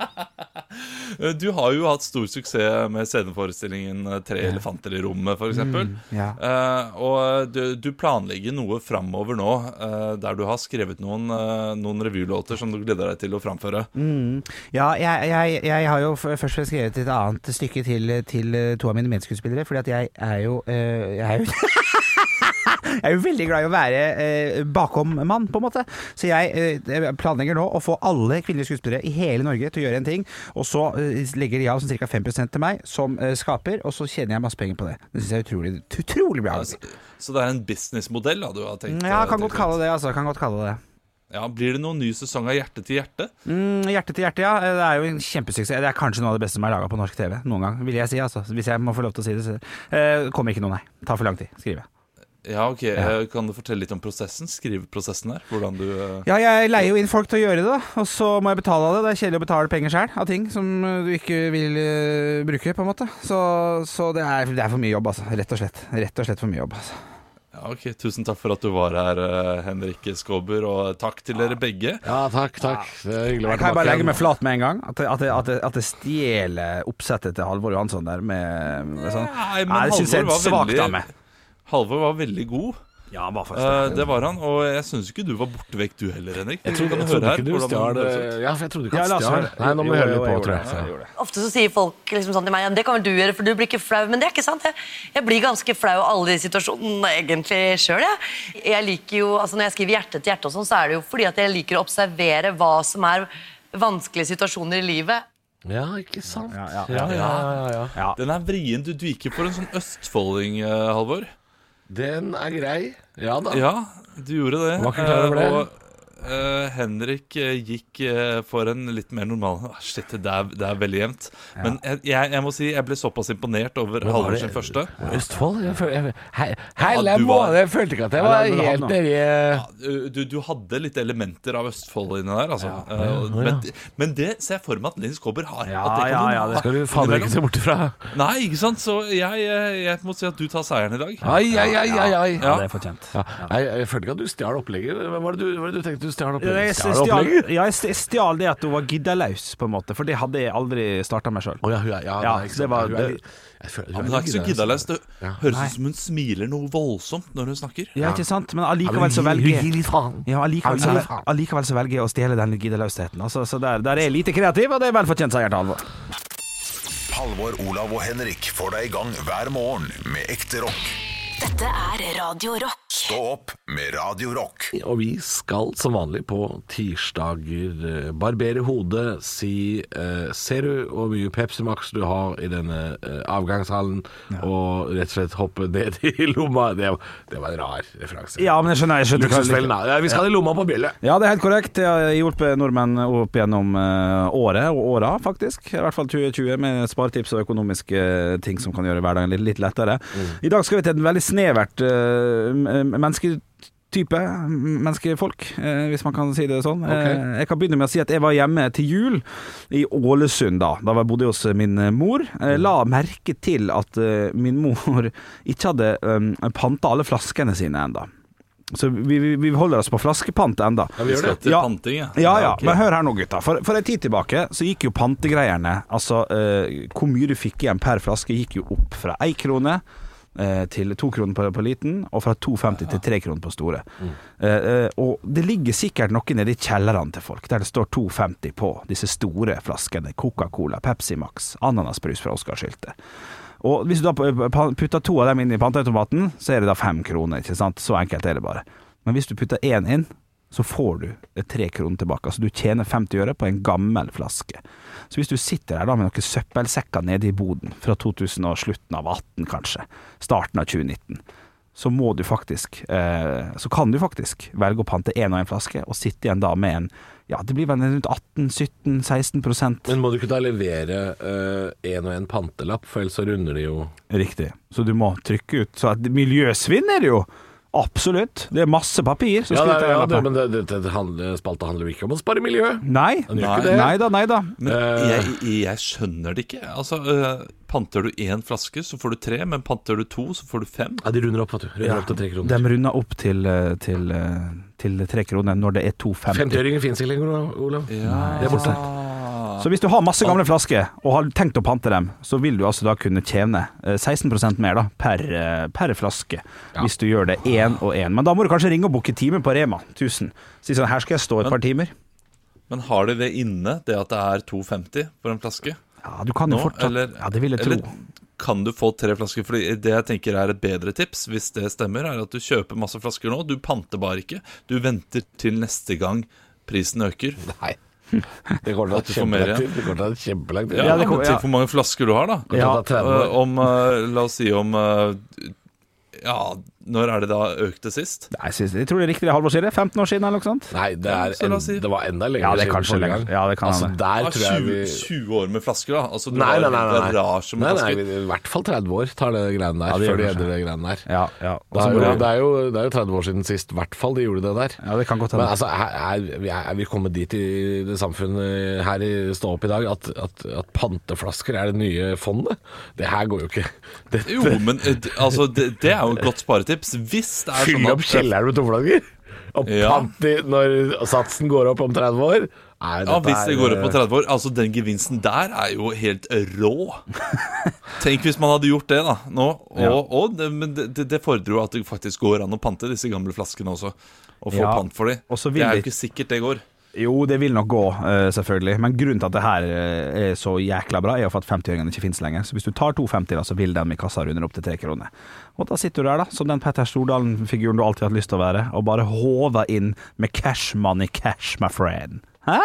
Eh, Du har jo hatt stor suksess med sceneforestillingen eh, 'Tre elefanter i rommet', f.eks. eksempel ja. Eh, og du, du planlegger noe framover nå, eh, der du har skrevet noen, eh, noen revylåter som du gleder deg til å framføre. Mm. Ja, jeg, jeg, jeg har jo f- først skrevet et annet stykke til, til to av mine medskuespillere, fordi at jeg er jo øh, Jeg er jo Jeg er jo veldig glad i å være eh, bakom-mann, på en måte. Så jeg eh, planlegger nå å få alle kvinnelige skuespillere i hele Norge til å gjøre en ting, og så eh, legger de av sånn ca. 5 til meg som eh, skaper, og så tjener jeg masse penger på det. Det syns jeg er utrolig, utrolig bra. Altså, så det er en businessmodell da, du har tenkt? Ja, eh, kan tenkt godt kalle det det, altså. Kan godt kalle det det. ut. ja, Blir det noen ny sesong av Hjerte til hjerte? Mm, Hjerte til hjerte, ja. Eh, Det er jo en kjempesuksess. Det er kanskje noe av det beste som er laga på norsk TV noen gang, vil jeg si. altså Hvis jeg må få lov til å si det. Så. Eh, kommer ikke noe, nei. Tar for lang tid. Skrive. Ja, ok. Eh, Kan du fortelle litt om prosessen? Skriveprosessen her? Hvordan du eh, Ja, jeg leier jo inn folk til å gjøre det, da. Og så må jeg betale av det. Det er kjedelig å betale penger sjøl av ting som eh, du ikke vil eh, bruke, på en måte. Så, så det, er, det er for mye jobb, altså. Rett og slett. Rett og slett for mye jobb, altså. Ja, ok. Tusen takk for at du var her, eh, Henrik Skåber, og takk til dere begge. Ja, takk, takk. Det er hyggelig å være Kan jeg bare tilbake. legge meg flat med en gang? At jeg, at jeg, at jeg, at jeg stjeler oppsettet til Halvor Johansson der med, med sånn Nei, men det syns jeg er Halvor var svakt av veldig- meg. Halvor var veldig god. Ja, han var Eh, det var han. Og jeg syns ikke du var borte vekk, du heller, Henrik. Jeg trodde, Kan jeg høre trodde her ikke du hvordan han stjal eh, høres ut? Ja, for jeg trodde ikke eh, Ja, han la oss stjal. høre. Nei, nå må vi Jo, høre jo, litt jeg på, gjorde tror det. Ja, jeg jeg. gjorde det. Ofte så sier folk liksom sånn til meg ja, det kan vel du gjøre, for du blir ikke flau. Men det er ikke sant. Jeg, jeg blir ganske flau av alle de situasjonene egentlig sjøl. Jeg. jeg liker jo, altså Når jeg skriver hjerte til hjerte, og sånn, så er det jo fordi at jeg liker å observere hva som er vanskelige situasjoner i livet. Ja, ikke sant. Ja, ja, Ah, ja, ja. ja. Den er vrien. Du, du gikk jo for en sånn østfolding, eh, Halvor. Den er grei. Ja da. Ja, du gjorde det. Var ikke klar over Eh, det. Og eh, Henrik eh, gikk eh, for en litt mer normal Ah, Shit, det er, det er veldig jevnt. Men jeg, jeg, jeg må si jeg ble såpass imponert over Halvor sin første. Østfold? Jeg føl, jeg, hei, Ja, du var- jeg følte ikke at jeg Ja, var det er bra helt nå. nedi eh, Du, du, du hadde litt elementer av Østfold inni der, altså. Eh, ja, ja. Men, men det ser jeg for meg at Linn Skåber har. Ja, at det kan ja, hun ja, ha. det- Skal du fader ikke se bort ifra? Nei, ikke sant? Så jeg, eh, jeg må si at du tar seieren i dag. Ai, ai, ai, ai, ai. Ja, det er fortjent. Ja. Nei, jeg følte ikke at du stjal opplegget. Hva var det du, hva var det du tenkte du stjal Jeg opplegget? Stjal stjal, opplegget? ja, jeg st- stjal det at hun var giddalaus, på en måte. For det hadde jeg aldri starta meg sjøl. Å ja, hun er ja, Ja, nei, ikke det sant. var- Hun er- det- jeg føler- Ja, hun men det er ikke så giddeløs. giddeløst. Det høres ut som hun smiler noe voldsomt når hun snakker. Ja, ikke sant? Men Ja, men allikevel hun så gir- velger Hun gir litt faen. ja, Ja, allikevel, men så, gi faen. allikevel så velger jeg å stjele den giddalausheten. Altså, så der, der er jeg lite kreativ, og det er vel fortjent seier til Halvor. Halvor, Olav og Henrik får deg i gang hver morgen med ekte rock. Dette er Radio Rock. Stå opp med Radio Rock. Og vi skal som vanlig på tirsdager eh, barbere hodet, si eh, Ser du hvor mye Pepsi Max du har i denne eh, avgangshallen? Og rett og slett hoppe ned i lomma. Det, det var en rar referanse. Ja, men jeg skjønner, jeg skjønner hva du liker. Luksusfellen, da. Ja, vi skal i lomma på bjellet. Ja, det er helt korrekt. Jeg har hjulpet nordmenn opp gjennom eh, året, og åra faktisk. I hvert fall 2020, med sparetips og økonomiske eh, ting som kan gjøre hverdagen litt, litt lettere. I dag skal vi til en veldig snevert eh, m- mennesketype. Menneskefolk, eh, hvis man kan si det sånn. Eh, Jeg kan begynne med å si at jeg var hjemme til jul i Ålesund da, da jeg bodde hos eh, min mor. Jeg la merke til at eh, min mor ikke hadde um, panta alle flaskene sine enda. Så vi, vi, vi holder oss på flaskepant enda. Ja, vi skal til Ja. panting, ja. Ja, ja, ok. men hør her nå gutta For, for en tid tilbake så gikk jo pantegreierne Altså, eh, hvor mye du fikk igjen per flaske Gikk jo opp fra 1 krone eh, Til 2 kroner på, på liten Og fra 2,50 til 3 kroner på store Mm. Eh, eh, Og det ligger sikkert noe nede i kjellerne til folk Der det står 2,50 på Disse store flaskene Coca-Cola, Pepsi Max Ananasbrus fra Oskar Skylte og hvis du da putter to av dem inn i panteautomaten, så er det da fem kroner, ikke sant? Så enkelt er det bare. Men hvis du putter én inn, så får du eh, tre kroner tilbake. Altså du tjener 50 øre på en gammel flaske. Så hvis du sitter der da med noen søppelsekker nede i boden fra 2000 og slutten av 18 kanskje, starten av 2019, så må du faktisk, eh, så kan du faktisk velge å pante én og én flaske, og sitte igjen da med en, ja det blir vel rundt 18-17-16 prosent. Men må du ikke da levere én og én pantelapp, for ellers så runder de jo Riktig. Så du må trykke ut. Så at miljøsvinn er det jo! Absolutt. Det er masse papir. som Ja, skal ut det, av ja det, den lappen. men det, det, det handler, spalta handler jo ikke om å spare miljø. Nei. gjør Nei. ikke det. nei da, nei da. Men jeg, jeg skjønner det ikke. Altså, øh, Panter du én flaske, så får du tre. Men panter du to, så får du fem. Ja, de runder opp, vet du. Runder opp til tre De kroner. runder opp til, eh, til, eh, til tre kroner når det er 2,50. 50-øringer fins ikke lenger, Olav. Det er Ah. borte. Ah. Så hvis du har masse gamle flasker og har tenkt å pante dem, så vil du altså da kunne tjene eh, 16 mer da, per, eh, per flaske hvis du gjør det én og én. Men da må du kanskje ringe og booke time på Rema 1000. Si sånn, her skal jeg stå et par timer. Men har de det inne, det at det er 2,50 for en flaske? Ja, du kan jo Nå, eller- fortsatt Ja, det vil jeg eller tro. Kan du få tre flasker? Fordi det jeg tenker er et bedre tips, hvis det stemmer, er at du kjøper masse flasker nå. Du panter bare ikke. Du venter til neste gang prisen øker. Nei. Det går til å At du får mer ta kjempelang tid. Det går til å ta kjempelang tid. Ja, Ja, det men kom- Til ja. hvor mange flasker du har, da. Det går til å ta 30 år. Eh, om, eh, la oss si om eh, Ja, Når er det da økte sist? Nei, jeg, synes, jeg tror det er riktig det Halvor sier. det. 15 år siden, eller noe sånt. Nei, det, er Så la oss si- en, det var enda lenger Ja, det er siden kanskje forrige lenger. gang. Ja, det kan altså, hende. der Ah, tror jeg 20, vi 20 år med flasker, da? Altså, du Nei, nei, nei. nei, nei. Garasje med nei, nei flasker. I hvert fall 30 år tar det greiene der, før det gjør de kanskje. endrer det greiene der. Ja, ja. Det Og så er, må jo, du- det, er jo, det er jo 30 år siden sist, i hvert fall, de gjorde det der. Ja, det kan godt hende. Men altså, er, er, vi- er vi kommet dit i det samfunnet her i Stå opp i dag at, at, at panteflasker er det nye fondet? Det her går jo ikke. Det, Jo, men eh, d- altså, det, det er jo et godt sparetips. Hvis det er fylle sånn opp kjelleren med tomflasker? Og Ja. pant i når satsen går opp om 30 år? Nei, Ja, dette hvis det er, går opp på eh, 30 år. Altså, Den gevinsten der er jo helt rå. Tenk hvis man hadde gjort det da, nå. Og, og det, men det, det- det fordrer jo at det faktisk går an å pante disse gamle flaskene også. Og få Ja. pant for dem. Og så vil Det er jo de- ikke sikkert det går. Jo, det vil nok gå, eh, selvfølgelig. Men grunnen til at det her eh, er så jækla bra, er jo for at 50-åringene ikke finnes lenger. Så hvis du tar to 50-er, så vil den i kassa runde opp til tre kroner. Og da sitter du der, da, som den Petter Stordalen-figuren du alltid har hatt lyst til å være, og bare håver inn med cash money cash, my friend. Hæ?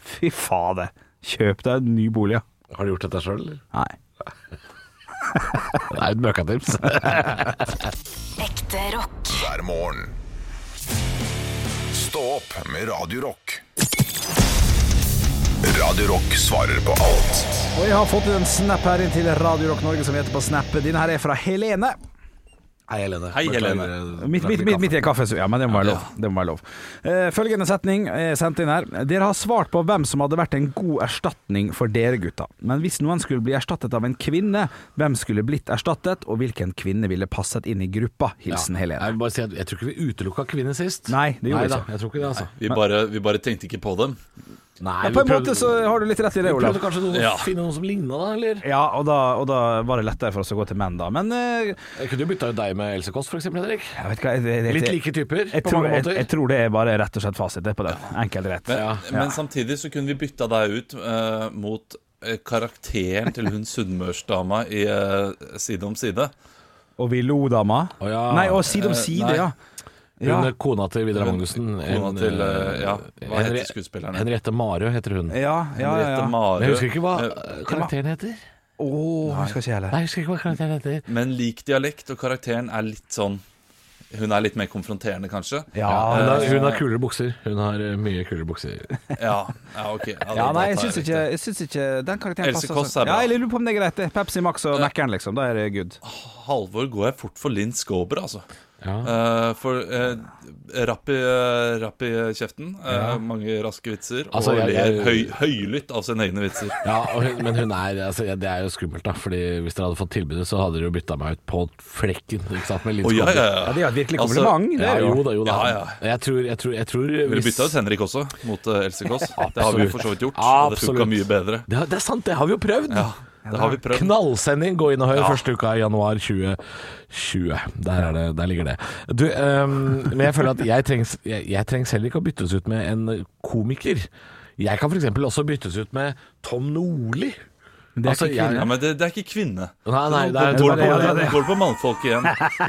Fy fader. Kjøp deg en ny bolig, ja. Har du gjort dette sjøl? Nei. Det er et møkkatips. Ekte rock. hver morgen. Stå opp med Radio Rock. Radio Rock svarer på alt. Og jeg har fått en snap her inn til Radio Rock Norge som heter på snap. Denne her er fra Helene. Hei, Helene. Hei, Helene. Midt, midt, midt, midt i en kaffe, så- ja, men det må være lov. Det må være lov. Eh, følgende setning er sendt inn her. Dere har svart på hvem som hadde vært en god erstatning for dere gutta. Men hvis noen skulle bli erstattet av en kvinne, hvem skulle blitt erstattet, og hvilken kvinne ville passet inn i gruppa? Hilsen Jeg, Helene. vil bare si at jeg tror ikke vi utelukka kvinner sist. Nei, det gjorde vi da, ikke. jeg tror ikke det, altså. Vi bare, vi bare tenkte ikke på dem. Nei, Ja, på en måte så har du litt rett i det, Vi Olav. prøvde kanskje noen Ja. å finne noen som ligna, da, eller? Ja, og da, og da var det lettere for oss å gå til menn, da. Men eh, Jeg kunne jo bytta ut deg med Else Kåss, for eksempel, Henrik. jeg vet ikke hva jeg- jeg- Litt like typer, Jeg på tror, mange jeg, måter. jeg tror det er bare rett og slett fasit. Det er på den. Enkelt rett. Men, men samtidig så kunne vi bytta deg ut eh, mot eh, karakteren til hun sunnmørsdama i eh, Side om side. Og vi lo, dama. Å, ja. Nei, og side om Eh, side, nei. ja. Hun Ja. er kona til Vidar Magnussen. Kona En, til, eh, ja, hva heter Henri- skuespilleren? Henriette Marø heter hun. Ja, ja, ja, Henriette ja. Marø. Men jeg husker ikke hva Eh, eh, karakteren heter. Å, husker ikke jeg heller. Nei, jeg husker ikke hva karakteren heter. Men lik dialekt, og karakteren er litt sånn Hun er litt mer konfronterende, kanskje? Ja, Hun har, eh, hun har kulere bukser. Hun har eh, mye kulere bukser. Ja, ja ok. Ja, da- ja, nei, da jeg tar syns riktig. ikke, jeg syns ikke den karakteren Else passer Kåss sånn. er bra. Ja, jeg lurer på om det er greit, det. Pepsi Max og Mækkern, liksom. Da er det good. Halvor går jeg fort for Linn Skåber, altså. Ja. Eh, for eh, rapp, i, eh, rapp i kjeften, eh, mange raske vitser, Altså, og jeg- ler høy, jeg- høylytt av sine egne vitser. Ja, og hun, men hun er altså, ja, Det er jo skummelt, da. Fordi Hvis dere hadde fått tilbudet, så hadde dere jo bytta meg ut på flekken. Ikke sant? Med Linn Å, ja, Skåber. ja, Ja, ja. det er jo et virkelig Altså, kompliment. det Ja, er jo da, jo da. Ja, ja. Jeg tror, jeg tror, jeg tror Ville hvis- bytta ut Henrik også, mot eh, Else Kåss. Det har vi jo for så vidt gjort, og det funka Absolutt. mye bedre. Det, er- det er sant, det har vi jo prøvd. Ja, det har vi prøvd. Knallsending, gå inn og hør første uka i januar 2020. Der, er det, der ligger det. Du, ehm, men jeg føler at jeg trengs, jeg, jeg trengs heller ikke å byttes ut med en komiker. Jeg kan f.eks. også byttes ut med Tom Nordli. Det er Altså, ikke jeg- Ja, men det, det er ikke kvinne. Nei, nei, det er- Nå går det er- det det på, er- går det på mannfolk igjen.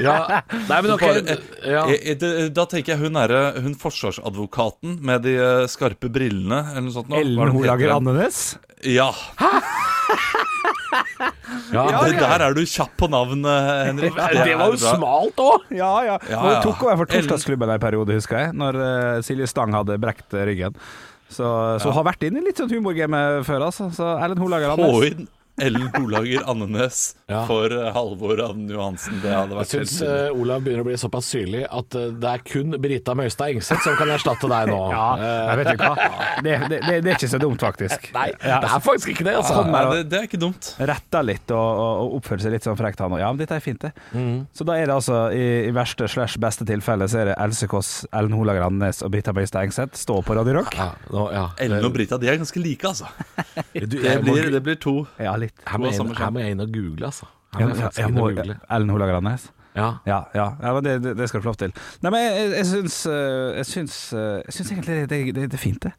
Ja. Nei, men ok. Bare, ja. eh, eh, det- Da tenker jeg hun er eh, hun forsvarsadvokaten med de eh, skarpe brillene, eller noe sånt. nå. Hva er Ellen det hun heter Holager igjen? Andenes. Ja. ja. eh, Det der er du kjapp på navnet, Henrik. Det var jo er bra. smalt òg! Ja, ja. Ja, Hun ja. tok over for Ellen- Torsdagsklubben en periode, husker jeg, når eh, Silje Stang hadde brekt eh, ryggen. Så, så har vært inne i litt sånn humorgame før, altså. Så Erlend Holager Få Andenes. inn Ellen Olager Andenes Ja. for eh, Halvor Ann Johansen. Det hadde Jeg vært helt syns nydelig. eh, Olav begynner å bli såpass syrlig at eh, det er kun Brita Møystad Engseth som kan erstatte deg nå. Ja, Eh, jeg vet ikke hva. Det, det, det, det er ikke så dumt, faktisk. Nei, det er faktisk ikke det, altså. Sånn Nei, er det. det, det er ikke dumt. retta litt og, og, og oppførte seg litt sånn frekt, han òg. Ja, men dette er fint, det. Så da er det altså, i, i verste slash beste tilfelle, så er det Else Kåss, Ellen Hola Grandes og Brita Bøystad Engseth stå på Radio Rock. Ja, nå, ja. Ellen og Brita de er ganske like, altså. Du, Det jeg må- blir, det blir to. Ja, litt. Her må to av jeg inn- samme her skjerm. må jeg inn og google, altså. Her må jeg Ja, ja, faktisk jeg inn må, og google. Ellen Hola Grandes? Ja. Ja, ja, ja men det, det, det skal du få lov til. Nei, men jeg, jeg syns eh, Jeg syns, jeg syns egentlig det, det, det er fint, det.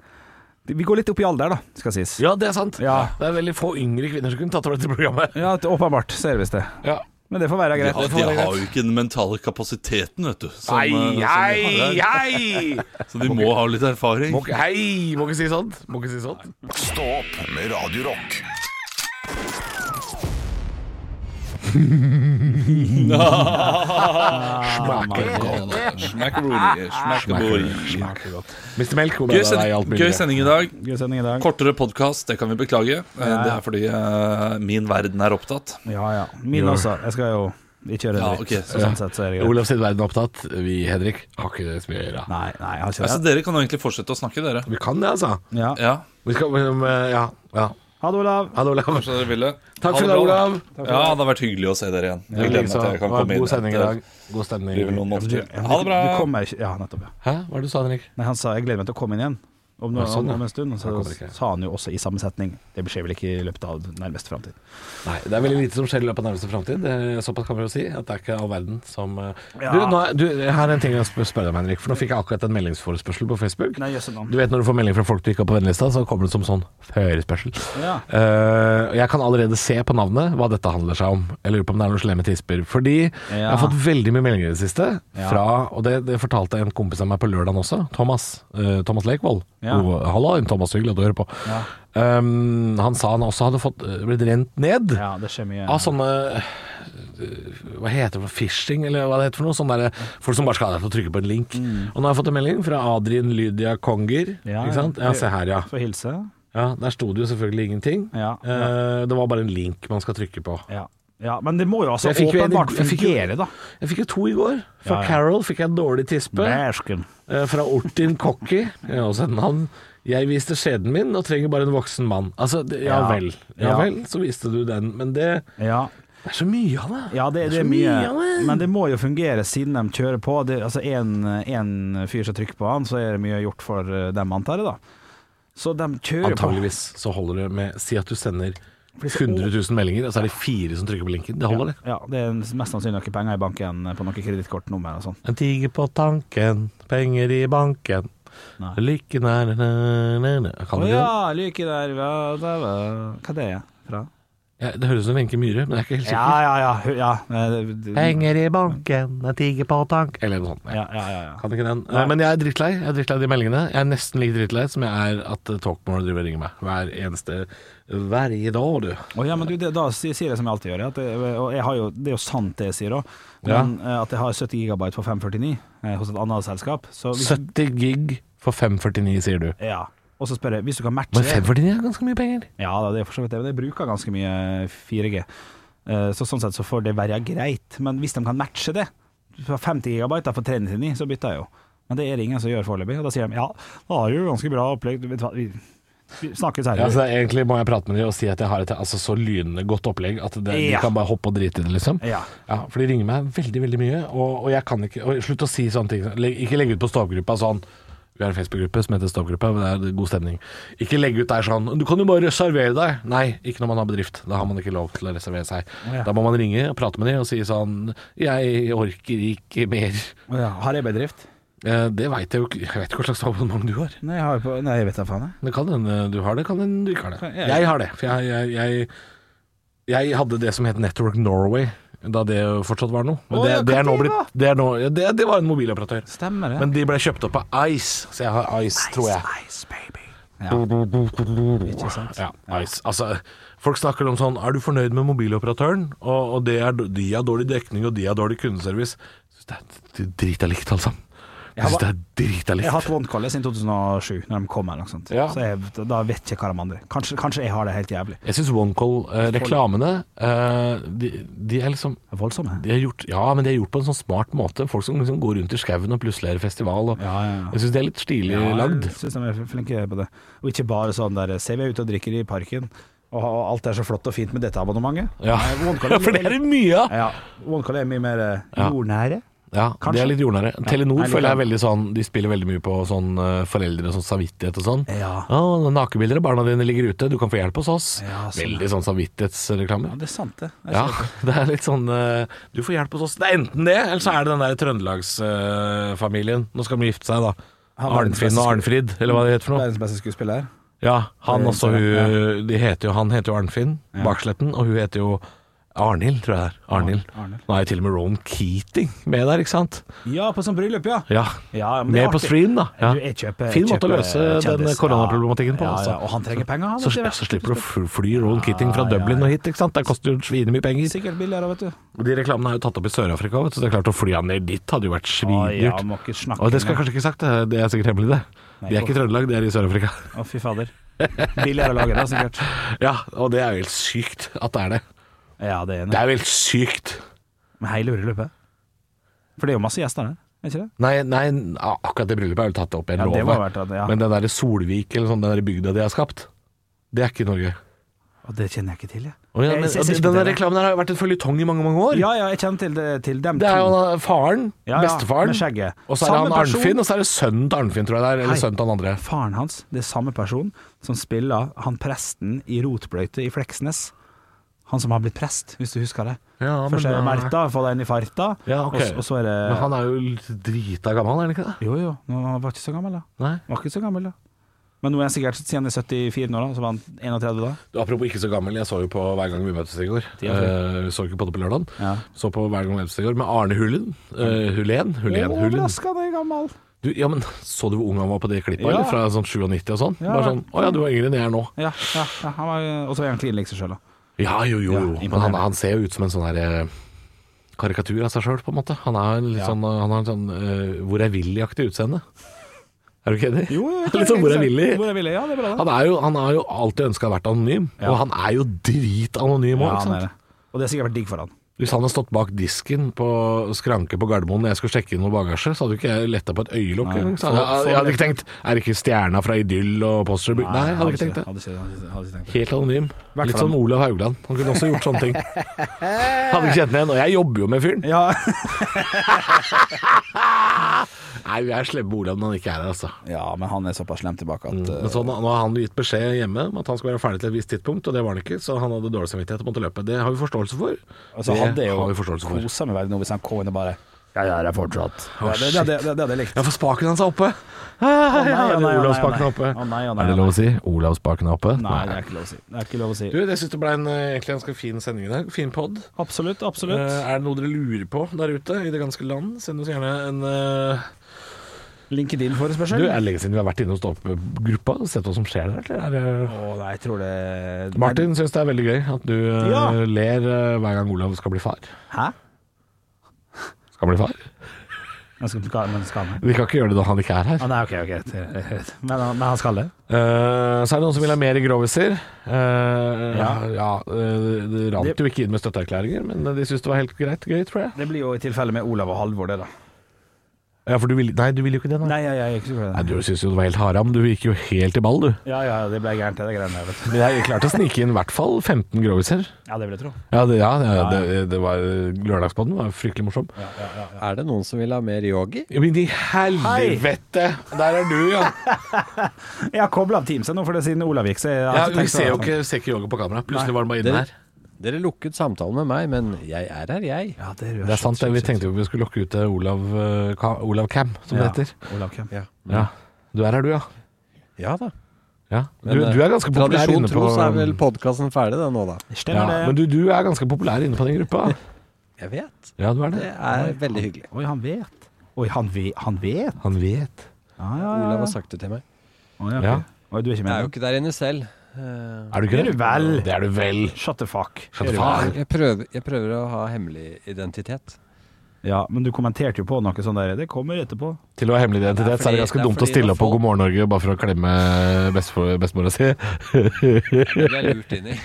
Vi går litt opp i alder, da, skal sies. ja, det er sant. Ja. Det er veldig få yngre kvinner som kunne tatt over dette programmet. Ja, åpenbart, så er det visst det. Ja. Men det får være Ja, greit. de har jo ikke den mentale kapasiteten, vet du. Som, Hei, eh, som de har hei, der. hei! Så de må ha litt erfaring. Må ikke, hei! Må ikke si sånt. Må ikke si sånt. Stå opp med Radio Rock. Schmackaroony. Schmackaboy. Mr. Melk, hvor ble Gøy, det av deg i alt sending, gøy mulig? sending i dag. Gøy sending i dag. Kortere podkast, det kan vi beklage. Eh, Det er fordi eh, min verden er opptatt. Ja, ja. Min også. Jeg skal jo ikke gjøre Ja, dritt. ok. Så sånn sett så er det greit. Olav sin verden er opptatt. Vi, Henrik, har ikke det så mye å gjøre. Nei, nei, jeg har ikke Altså, det. dere kan jo egentlig fortsette å snakke, dere. Vi kan det, altså. Ja. Ja, Vi skal, men, eh, ja, ja. Ha det, Olav. Ha det, Olav. kanskje dere ville. Takk Ha for det det, bra, da. Olav. Ja, det har vært hyggelig å se dere igjen. Jeg Hyggelig, glemmer at jeg så. kan Det var komme inn God sending i etter- dag. God Det blir vel stemning. noen måneder Ja, til. men Ha det bra. Du kommer ikke Ja, nettopp. Ja. Hæ, hva er det du sa, Henrik? Nei, han sa 'jeg gleder meg til å komme inn igjen'. Om, noe, Ja, sånn, ja. om en stund. Han og Så kommer ikke. sa han jo også i samme setning. Det skjer vel ikke i løpet av nærmeste framtid. Nei, det er veldig lite som skjer i løpet av nærmeste framtid. Det er Såpass kan vi jo si. At det er ikke all verden som eh, Ja. du, nå, er- du, her er en ting jeg spør spørre deg om, Henrik. For nå fikk jeg akkurat en meldingsforespørsel på Facebook. Nei, jøsse navn. Du vet når du får melding fra folk du ikke har på vennelista, så kommer det som sånn førespørsel. Ja. Eh, jeg kan allerede se på navnet hva dette handler seg om. Jeg lurer på om det er noen slemme tisper. Fordi jeg har fått veldig mye meldinger i det siste Ja. fra Og det, det fortalte en kompis av meg på lørdagen også. Thomas. eh, Thomas Leikvoll. Ja. Jo, Halla, Thomas. Hyggelig at du hører på. Um, han sa han også hadde fått eh, blitt rent ned Ja, det skjer mye. av sånne øh, hva heter det, for noe? phishing, eller hva det heter for noe? Sånne der, eh, folk som bare skal ha deg til å trykke på en link. Og nå har jeg fått en melding fra Adrien Lydia Konger. Mm. Ja, ikke sant? Ja, se her, ja. Få hilse. ja. Der sto det jo selvfølgelig ingenting. Ja, Eh, det var bare en link man skal trykke på. Ja. ja. Men det må jo altså Jeg fikk jo en- åpenbart jeg fikk jo- fungere, da. Jeg fikk jo to i går. Fra Ja, ja. Carol fikk jeg en dårlig tispe. Bæsken. Eh, fra Ortin Kokki, eh, også et navn. Jeg viste skjeden min og trenger bare en voksen mann. Altså, det, ja, Ja. vel. Ja, Ja. vel, så viste du den. Men det, Ja. det er så mye av det. Ja, det, det så er mye, av det. men det må jo fungere siden de kjører på. Det, altså, en, en fyr som trykker på han, så er det mye gjort for eh, dem, antar jeg, da. Så de kjører Antageligvis så holder det med Si at du sender så- 100 000 meldinger, og så er det fire som trykker på linken. Det holder, det. på. Ja, det er mest sannsynlig noen penger i banken eh, på noen kredittkortnummer og sånn. En tiger på tanken, penger i banken. Nei. Lykken er næ, næ, næ. Kan Å du det? ja, lykke der hva, der, hva Hva det er fra? Ja, det høres ut som Wenche Myhre, men jeg er ikke helt Ja, sikker. ja, ja. hu- ja. eh, det- det- Penger i banken, en tiger på tank Eller noe sånt. Jeg Ja, ja, ja, ja. Kan ikke den. Nei, men jeg er drittlei Jeg er drittlei de meldingene. Jeg er nesten like drittlei som jeg er at eh, Talkmore driver og ringer meg hver eneste Hver i dag, du. Å, ja men du, det, da si- sier jeg som jeg alltid gjør. At det, og jeg har jo, det er jo sant det jeg sier òg, Ja. men eh, at jeg har 70 gigabyte for 549 eh, hos et annet selskap. Så hvis, 70 gig for 549, sier du. Ja. Og så spør jeg hvis du kan matche Men det 549 er ganske mye penger. Ja, da, det er for så vidt det, men jeg bruker ganske mye 4G. Eh, Så sånn sett så får det være greit. Men hvis de kan matche det, fra 50 gigabyte da, for 39, så bytter jeg jo. Men det er det ingen som gjør foreløpig. Og da sier de ja, da har du jo ganske bra opplegg. Du vet hva, vi vi snakkes Ja, altså. så her. det er egentlig må jeg prate med dem og si at jeg har et altså, så lynende godt opplegg at det, Ja. de kan bare hoppe og drite i det, liksom. Ja. For de ringer meg veldig, veldig mye, og, og jeg kan ikke og Slutt å si sånne ting. Le- Ikke legge ut på stavgruppa sånn vi har en Facebook-gruppe som heter Stavgruppa, men det er god stemning. Ikke legge ut der sånn Du kan jo bare reservere deg. Nei, ikke når man har bedrift. Da har man ikke lov til å reservere seg. ja. Da må man ringe og prate med dem og si sånn Jeg orker ikke mer. Å ja, Har jeg bedrift? Eh, Det veit jeg jo ikke. Jeg vet ikke hva slags abonnement du har. Nei, jeg, har jo på, nei, jeg vet da faen. jeg. Det kan hende du har det, kan hende du ikke har det. Ja, ja. Jeg har det. For jeg, jeg, jeg, jeg hadde det som het Network Norway, da det fortsatt var noe. Men Å, det, ja, det, er nå hva det var? blitt, det, er nå, ja, det, det var en mobiloperatør. Stemmer det. Men de ble kjøpt opp av Ice, så jeg har Ice, tror jeg. Ice baby. Ja. Ikke sant? Ja, Ice. Altså, folk snakker om sånn Er du fornøyd med mobiloperatøren? Og, og det er, de har dårlig dekning, og de har dårlig kundeservice. Jeg synes det er drita likt, altså. Jeg syns det er drita Jeg har hatt likt. OneColle siden 2007, når de kom eller noe sånt. Ja. Så jeg, da vet jeg ikke hva de andre Kanskje, kanskje jeg har det helt jævlig. Jeg syns OneCall-reklamene eh, de, de er liksom Voldsomme. De har gjort, ja, men de har gjort på en sånn smart måte. Folk som liksom går rundt i skauen og plutselig er det festival. Og Ja, ja, ja. Jeg syns det er litt stilig lagd. Jeg synes de er flinke på det. Og ikke bare sånn der Ser vi ut og drikker i parken, og og alt er så flott og fint med dette abonnementet. Ja. Nei, OneCall ja, for det er det mye av! Ja, OneCall er mye mer eh, Ja. jordnære. Ja, det Kanskje. er litt jordnære. Telenor Nei, litt føler jeg er annet. veldig sånn De spiller veldig mye på sånn eh, foreldre og sånn samvittighet og sånn. Ja. «Å, nakenbilder av barna dine ligger ute, du kan få hjelp hos oss. Ja, sånn, veldig sånn Ja, samvittighetsreklame. det er sant, det. Jeg Ja, ser det. det er litt sånn eh, Du får hjelp hos oss. Det er enten det, eller så er det den der Trøndelagsfamilien. Nå skal de gifte seg, da. Han var den Arnfinn beste og Arnfrid, eller hva det heter for noe. Verdens beste skuespiller. Ja, han Det er også, det, hun, de heter jo, han heter jo Arnfinn Baksletten, og hun heter jo Arnhild, tror jeg det er. Arnhild. Arnhild. Nå er jo til og med Rowan Keating med der, ikke sant? Ja, på sånn bryllup, ja. Ja. Ja, men det er med på artig. stream, da. Ja. Du, jeg kjøper- fin måte å kjøper løse den kjendis. koronaproblematikken på. Ja, ja, altså. ja, og han trenger penger, han, Så, vet du. ja, så slipper du å fl- fly Rowan Keating fra Dublin og hit, ikke sant. Det koster jo svinemye penger. Sikkert billigere, vet du. De reklamene er jo tatt opp i Sør-Afrika, vet du, så det er klart å fly han ned dit hadde jo vært Å, ja, svindyrt. må ikke snakke og det skal jeg engang. kanskje ikke sagt, eh, det- det er sikkert hemmelig, det. De er ikke i Trøndelag, de er i Sør-Afrika. Å, fy fader. Billigere å lage det, sikkert. Ja, og det er jo helt sykt at det er det. Ja, det er Det er enig. jo helt sykt. Men hele bryllupet. For det er jo masse gjester der, er ikke det? Nei, nei, a- akkurat det bryllupet er vel tatt opp i en Ja, lov. det må ha vært at- ja. Men den derre Solvik eller sånn, den derre bygda de har skapt, det er ikke i Norge. Og det kjenner jeg ikke til, jeg. Og ja, Jeg- men, jeg ser ikke den på der det. reklamen her har jo vært en føljetong i mange, mange år. Ja, ja, jeg kjenner til, det, til dem Det er jo to. da faren, Ja, ja, bestefaren, med skjegget. og så er det han Samme person. Arnfinn, og så er det sønnen til Arnfinn, tror jeg det er, eller Hei. sønnen til han andre. Faren hans, det er samme person som spiller han presten i Rotbløyte i Fleksnes. Han som har blitt prest, hvis du husker det. Ja, men eh, Først er det da- Märtha, få deg inn i farta, Ja, ok. og, s- og så er det Men han er jo litt drita gammel, er han ikke det? Jo, jo, nå- han var ikke så gammel, da. Nei. Var ikke så gammel, da. Men nå er han sikkert siden han er 74 nå, da, så var han 31 da. Du, apropos ikke så gammel, jeg så jo på Hver gang vi møtes i går. Tida flyr. Eh, så ikke på det på lørdag. Ja. Så på Hver gang vi møtes i går med Arne Hulen. Eh, Hulen? Hulen, Hulen. Overraskende gammel. Du, ja, men, så du hvor ung han var på det klippet? Eller? Ja. Fra sånn 97 og sånn? Ja. Bare sånn Å ja, du er yngre enn jeg er nå. Ja, ja, ja han var, og så er han klin lik seg sjøl, da. Ja, jo, jo, Ja, jo. men han, imponerende. han ser jo ut som en sånn her eh, karikatur av seg sjøl, på en måte. Han er litt Ja. sånn, eh, han har en sånn eh, Hvor er Willy-aktig utseende. Er du ikke enig? Jo, jo, Litt jeg sånn tenker Hvor er ikke Willy? sant. Hvor er Willy? Ja, det er bra, det. Han er jo, han har jo alltid ønska å ha vært anonym, Ja. og han er jo dritanonym Ja, òg. han er det. Og det har sikkert vært digg for han. Hvis han hadde stått bak disken på skranke på Gardermoen når jeg skulle sjekke inn noe bagasje, så hadde jo ikke jeg letta på et øyelokk. Nei. engang. Så hadde Jeg, jeg hadde ikke tenkt Er det ikke stjerna fra Idyll og Posterby? Nei, jeg hadde ikke tenkt det. Hadde ikke, hadde ikke, hadde ikke tenkt det. Helt anonym. altså. Hvert Litt fall. sånn Olav Haugland. Han kunne også gjort sånne ting. Hadde ikke kjent meg igjen. Og jeg jobber jo med fyren. Ja. Nei, vi er slemme med Olav når han ikke er her, altså. ja, men han er såpass slem tilbake at eh, Men så, nå nå har han gitt beskjed hjemme om at han skal være ferdig til et visst tidspunkt, og det var han ikke, så han hadde dårlig samvittighet og måtte løpe. Det har vi forståelse for. Altså, det hadde jeg har vi jo forståelse for. kosa meg veldig nå hvis han kom inn og bare Jeg er her fortsatt. Å, det, det, det, det, det hadde jeg likt. Ja, for spaken hans er oppe! Å, nei, å, nei, å, nei, å, nei. Olavsbakken er oppe. Å, nei, å, nei, Er det å, lov nei. å si? Olavsbakken er oppe? Nei, det er ikke lov å si. Det er ikke lov å si. Du, jeg syns det ble en, eh, egentlig en ganske fin sending i dag. Fin pod. Absolutt, Eh, absolutt. er det noe dere lurer på der ute i det ganske land, send oss gjerne en eh, Du, LinkedIn-forespørsel? er det lenge siden vi har vært inne og stått opp eh, gruppa og sett hva som skjer der, eller? Er, det- Å nei, jeg tror det Martin syns det er veldig gøy at du eh, Ja. ler eh, hver gang Olav skal bli far. Hæ? Skal bli far? Men skal, skal, men skal han det? Vi kan ikke gjøre det når han ikke er her. Å, nei, ok, ok. Men, han- men han skal det? Eh, så er det noen som vil ha mer groviser. Eh, ja, Ja. eh, det rant Det- jo ikke inn med støtteerklæringer, men eh, de syntes det var helt greit gøy, tror jeg. Det blir jo i tilfelle med Olav og Halvor, det, da. Ja, for du vil, nei, du vil jo ikke det, nei. Nei, jeg, jeg er ikke så glad i Nei, det. Du syns jo det var helt haram. Du gikk jo helt i ball, du. Ja, ja, det ble gærent, det greiene der, vet du. Men jeg klarte å snike inn i hvert fall 15 groviser. Ja, det vil jeg tro. Ja, det, ja, det, det, det var Lørdagspodden var fryktelig morsom. Er det noen som vil ha mer yogi? Men i helvete! Der er du, ja. Jeg har kobla av Teams jeg, nå, for det er siden Olav gikk, så jeg har ja ikke vi tenkt å- ser jo ikke, ser ikke yoga på kamera. Plutselig var den bare inne Dere, her. dere lukket samtalen med meg, men jeg er her, jeg. Ja, det er, Det er sant, det. vi tenkte jo vi skulle lokke ut eh, Olav, eh, Ka- Olav Cam, som det heter. Olav Kemp. Ja, Ja. Du er her, du, ja. ja da. ja. Du, Men, eh, du er ganske populær Tradisjon inne på tro så er vel podkasten ferdig da nå, da. ja, Stemmer Men det. du, du er ganske populær inne på den gruppa. Jeg vet. Ja, du er Det det. er veldig hyggelig. Oi, han vet. Oi, han, ve han vet? Han vet. Ja, ja, ja. Olav har sagt det til meg. Oi, ok. Ja. Oi, du er ikke Jeg er jo med? ikke der inne selv. Eh, Er du ikke Er du vel? Det er du vel. Shut the fuck. Shut the fuck. Jeg prøver, jeg prøver å ha hemmelig identitet. Ja, men du kommenterte jo på noe sånn der. Det kommer etterpå. Til å ha hemmelig identitet Det er så er det fordi- ganske det er dumt å fordi stille når opp på folk- God morgen Norge bare for å klemme bestefo- bestemora si. Det blir jeg lurt inn i.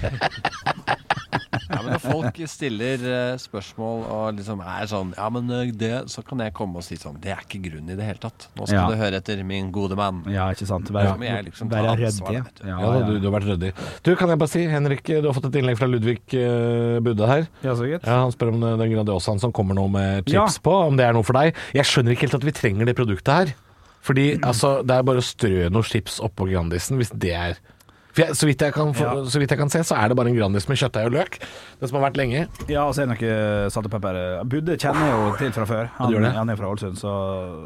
Ja, men Når folk stiller eh, spørsmål og liksom er sånn Ja, men eh, det Så kan jeg komme og si sånn Det er ikke grunn i det hele tatt. Nå skal Ja. du høre etter, min gode mann. Ja, ikke sant. Ja, men jeg liksom tar ansvar, ryddig. vet du. Ja, Ja, ja, Du, ja. du har vært ryddig. Du, kan jeg bare si, Henrik, du har fått et innlegg fra Ludvig eh, Budde her. ja, så gitt. Ja, Han spør om eh, den Grandiosaen som kommer nå med chips Ja. på, om det er noe for deg. Jeg skjønner ikke helt at vi trenger det produktet her. Fordi altså, det er bare å strø noe chips oppå Grandisen hvis det er for jeg, så, vidt jeg kan, få- Ja. så vidt jeg kan se, så er det bare en Grandis med kjøttdeig og løk. Den som har vært lenge. Ja, og så er det noe salt og pepper. Budde kjenner jeg jo til fra før. du Han, gjør det? han er fra Ålesund, så,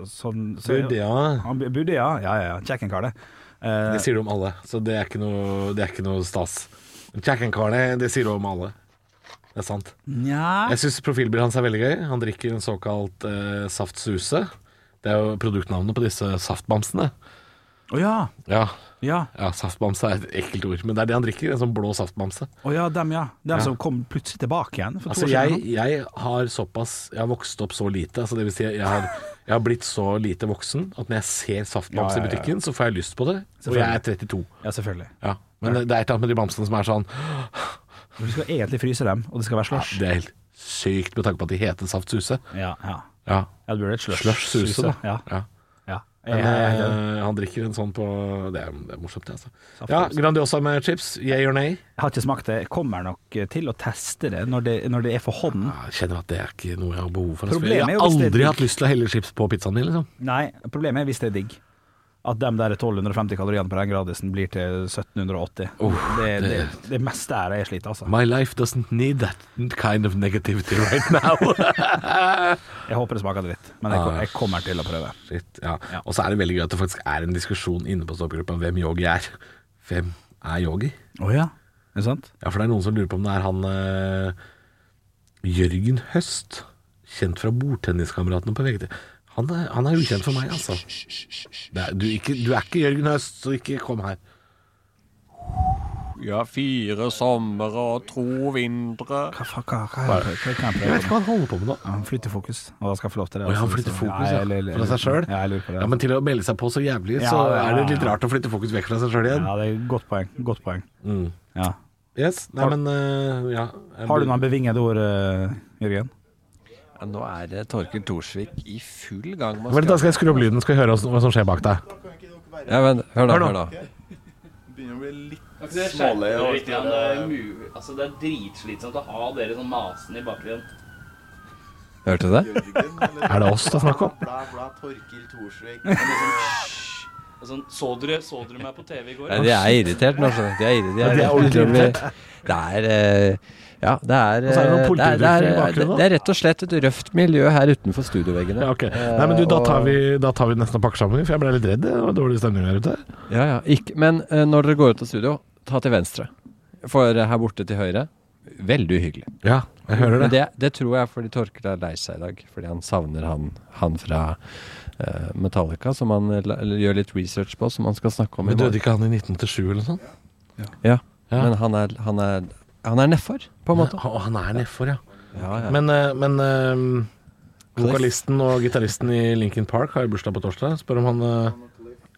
sånn- så Budde, ja. Han, Budde, ja. Ja, ja, ja. Kjekkenkar, det. Eh, Det sier du om alle, så det er ikke noe, det er ikke noe stas. Jack and Carney, det sier du om alle. Det er sant. Nja Jeg syns profilbildet hans er veldig gøy. Han drikker en såkalt eh, saftsuse. Det er jo produktnavnet på disse saftbamsene. Å ja. Ja. Ja. ja, saftbamse er et ekkelt ord, men det er det han drikker. En sånn blå saftbamse. Å ja, dem, ja. Dem Ja. som kom plutselig tilbake igjen. For to Altså, år jeg, siden. jeg har såpass Jeg har vokst opp så lite. Altså, det vil si, jeg har, jeg har blitt så lite voksen at når jeg ser saftbamse Ja, ja, ja. i butikken, så får jeg lyst på det. Og jeg er 32. Ja, selvfølgelig. Ja. Men det er et eller annet med de bamsene som er sånn Du skal egentlig fryse dem, og det skal være ja, slush. Det er helt sykt med tanke på at de heter Saftsuse. Ja, ja. Ja. ja det blir et slush. Slush Suse, da. Ja. Ja. ja. Men, Jeg- jeg- jeg- eh, han drikker en sånn på Det er, det er morsomt, det, altså. Ja, Grandiosa med chips. Yay or nay? jeg har ikke smakt det. Jeg kommer nok eh, til å teste det når det, når det er for hånden. Ja, Jeg kjenner at det er ikke noe jeg har behov for. Problemet Jeg er har jo hvis det er aldri digg. hatt lyst til å helle chips på pizzaen min, liksom. Nei, problemet er hvis det er digg. At de der 1250 kaloriene på den gradisen blir til 1780. det, det, det, meste er det jeg sliter, altså. My life doesn't need that kind of negativity right now. Jeg håper det smaker dritt, men jeg, Ah. ko- jeg kommer til å prøve. Shit, ja. Og så er det veldig gøy at det faktisk er en diskusjon inne på stoppgruppa om hvem yogi er. Hvem er yogi? Å ja, er det sant? Ja, for det er noen som lurer på om det er han eh, Jørgen Høst, kjent fra bordtenniskameratene på VGT. Han er, han er ukjent for meg, altså. Det er, du, ikke, du er ikke Jørgen Høst, så ikke kom her. Ja, fire somre og to vintre. Hva faen, hva, hva, hva, hva Jeg kan jeg prøve? vet ikke hva han holder på med nå. Ja, Han flytter fokus, og han skal få lov til det. Å, ja, han altså. flytter Så- fokus ja, jeg- jeg- jeg- fra seg sjøl. Ja, jeg lurer på det. Ja, men til å melde seg på så jævlig, så Ja, ja, er det ja. litt rart å flytte fokus vekk fra seg sjøl igjen. ja, det er et godt poeng. Godt poeng. Mm. Ja. Yes, nei, men eh, ja. Jeg Har du blir- noen bevingede ord, eh, Jørgen? Ja, Nå er det Torkel Thorsvik i full gang med å Vent, da skrive. skal jeg skru opp lyden, skal vi høre hva som skjer bak deg. Ja, men, hør da, hør da. Begynner å bli litt det er dritslitsomt å ha dere sånn masende i bakgrunnen. Hørte du det? Er det oss det er snakk om? Bla, bla, Torkil Thorsvik. Og liksom, og sånn, så, dere, så dere meg på TV i går? Nei, de er irritert nå, skjønner du. De er, irri- de Ja, de er ordentlig de blir- Det er eh, Ja, det er Og så er det noen eh, det er, det, politiuttrykk i er, bakgrunnen, da. det er rett og slett et røft miljø her utenfor studioveggene. Ja, ok. Nei, men du, da tar vi, da tar vi nesten og pakker sammen, for jeg ble litt redd. Det var dårlig stemning her ute. Ja, ja. Ikke, men eh, når dere går ut av studio, ta til venstre. For eh, her borte til høyre Veldig uhyggelig. Ja, jeg hører Men det. det, det tror jeg er fordi Torkel er lei seg i dag. Fordi han savner han, han fra eh, Metallica, som han eh, la- eller gjør litt research på, som han skal snakke om Men i morgen. døde ikke han i 1987 eller noe sånt? Ja. Ja. Men han er, han er, han er nedfor, på en måte. Han, han er nedfor, ja. Ja, ja. Men, eh, men eh, vokalisten og gitaristen i Linkin Park har jo bursdag på torsdag. Spør om han eh,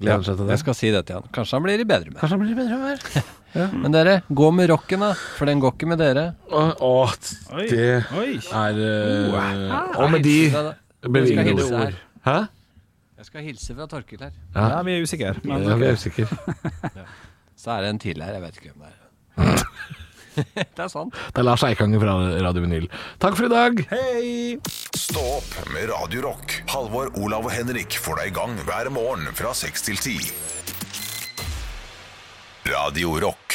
gleder seg til det. Jeg skal si det til han. Kanskje han blir i bedre humør. Kanskje han blir i bedre humør. Men dere, gå med rocken, da. For den går ikke med dere. Å, å, t- det Oi. er eh, Og med de bevingede hilse ord. her. Hæ? Jeg skal hilse fra Torkil her. Ja, vi er usikre. Men Ja, vi er usikre. Så er det en til her. Jeg vet ikke hvem det er. det er sant. Det er Lars Eikanger fra Radio Vinyl. Takk for i dag! Stå opp med Radio Rock. Halvor, Olav og Henrik får deg i gang hver morgen fra 6 til 10. Radio Rock.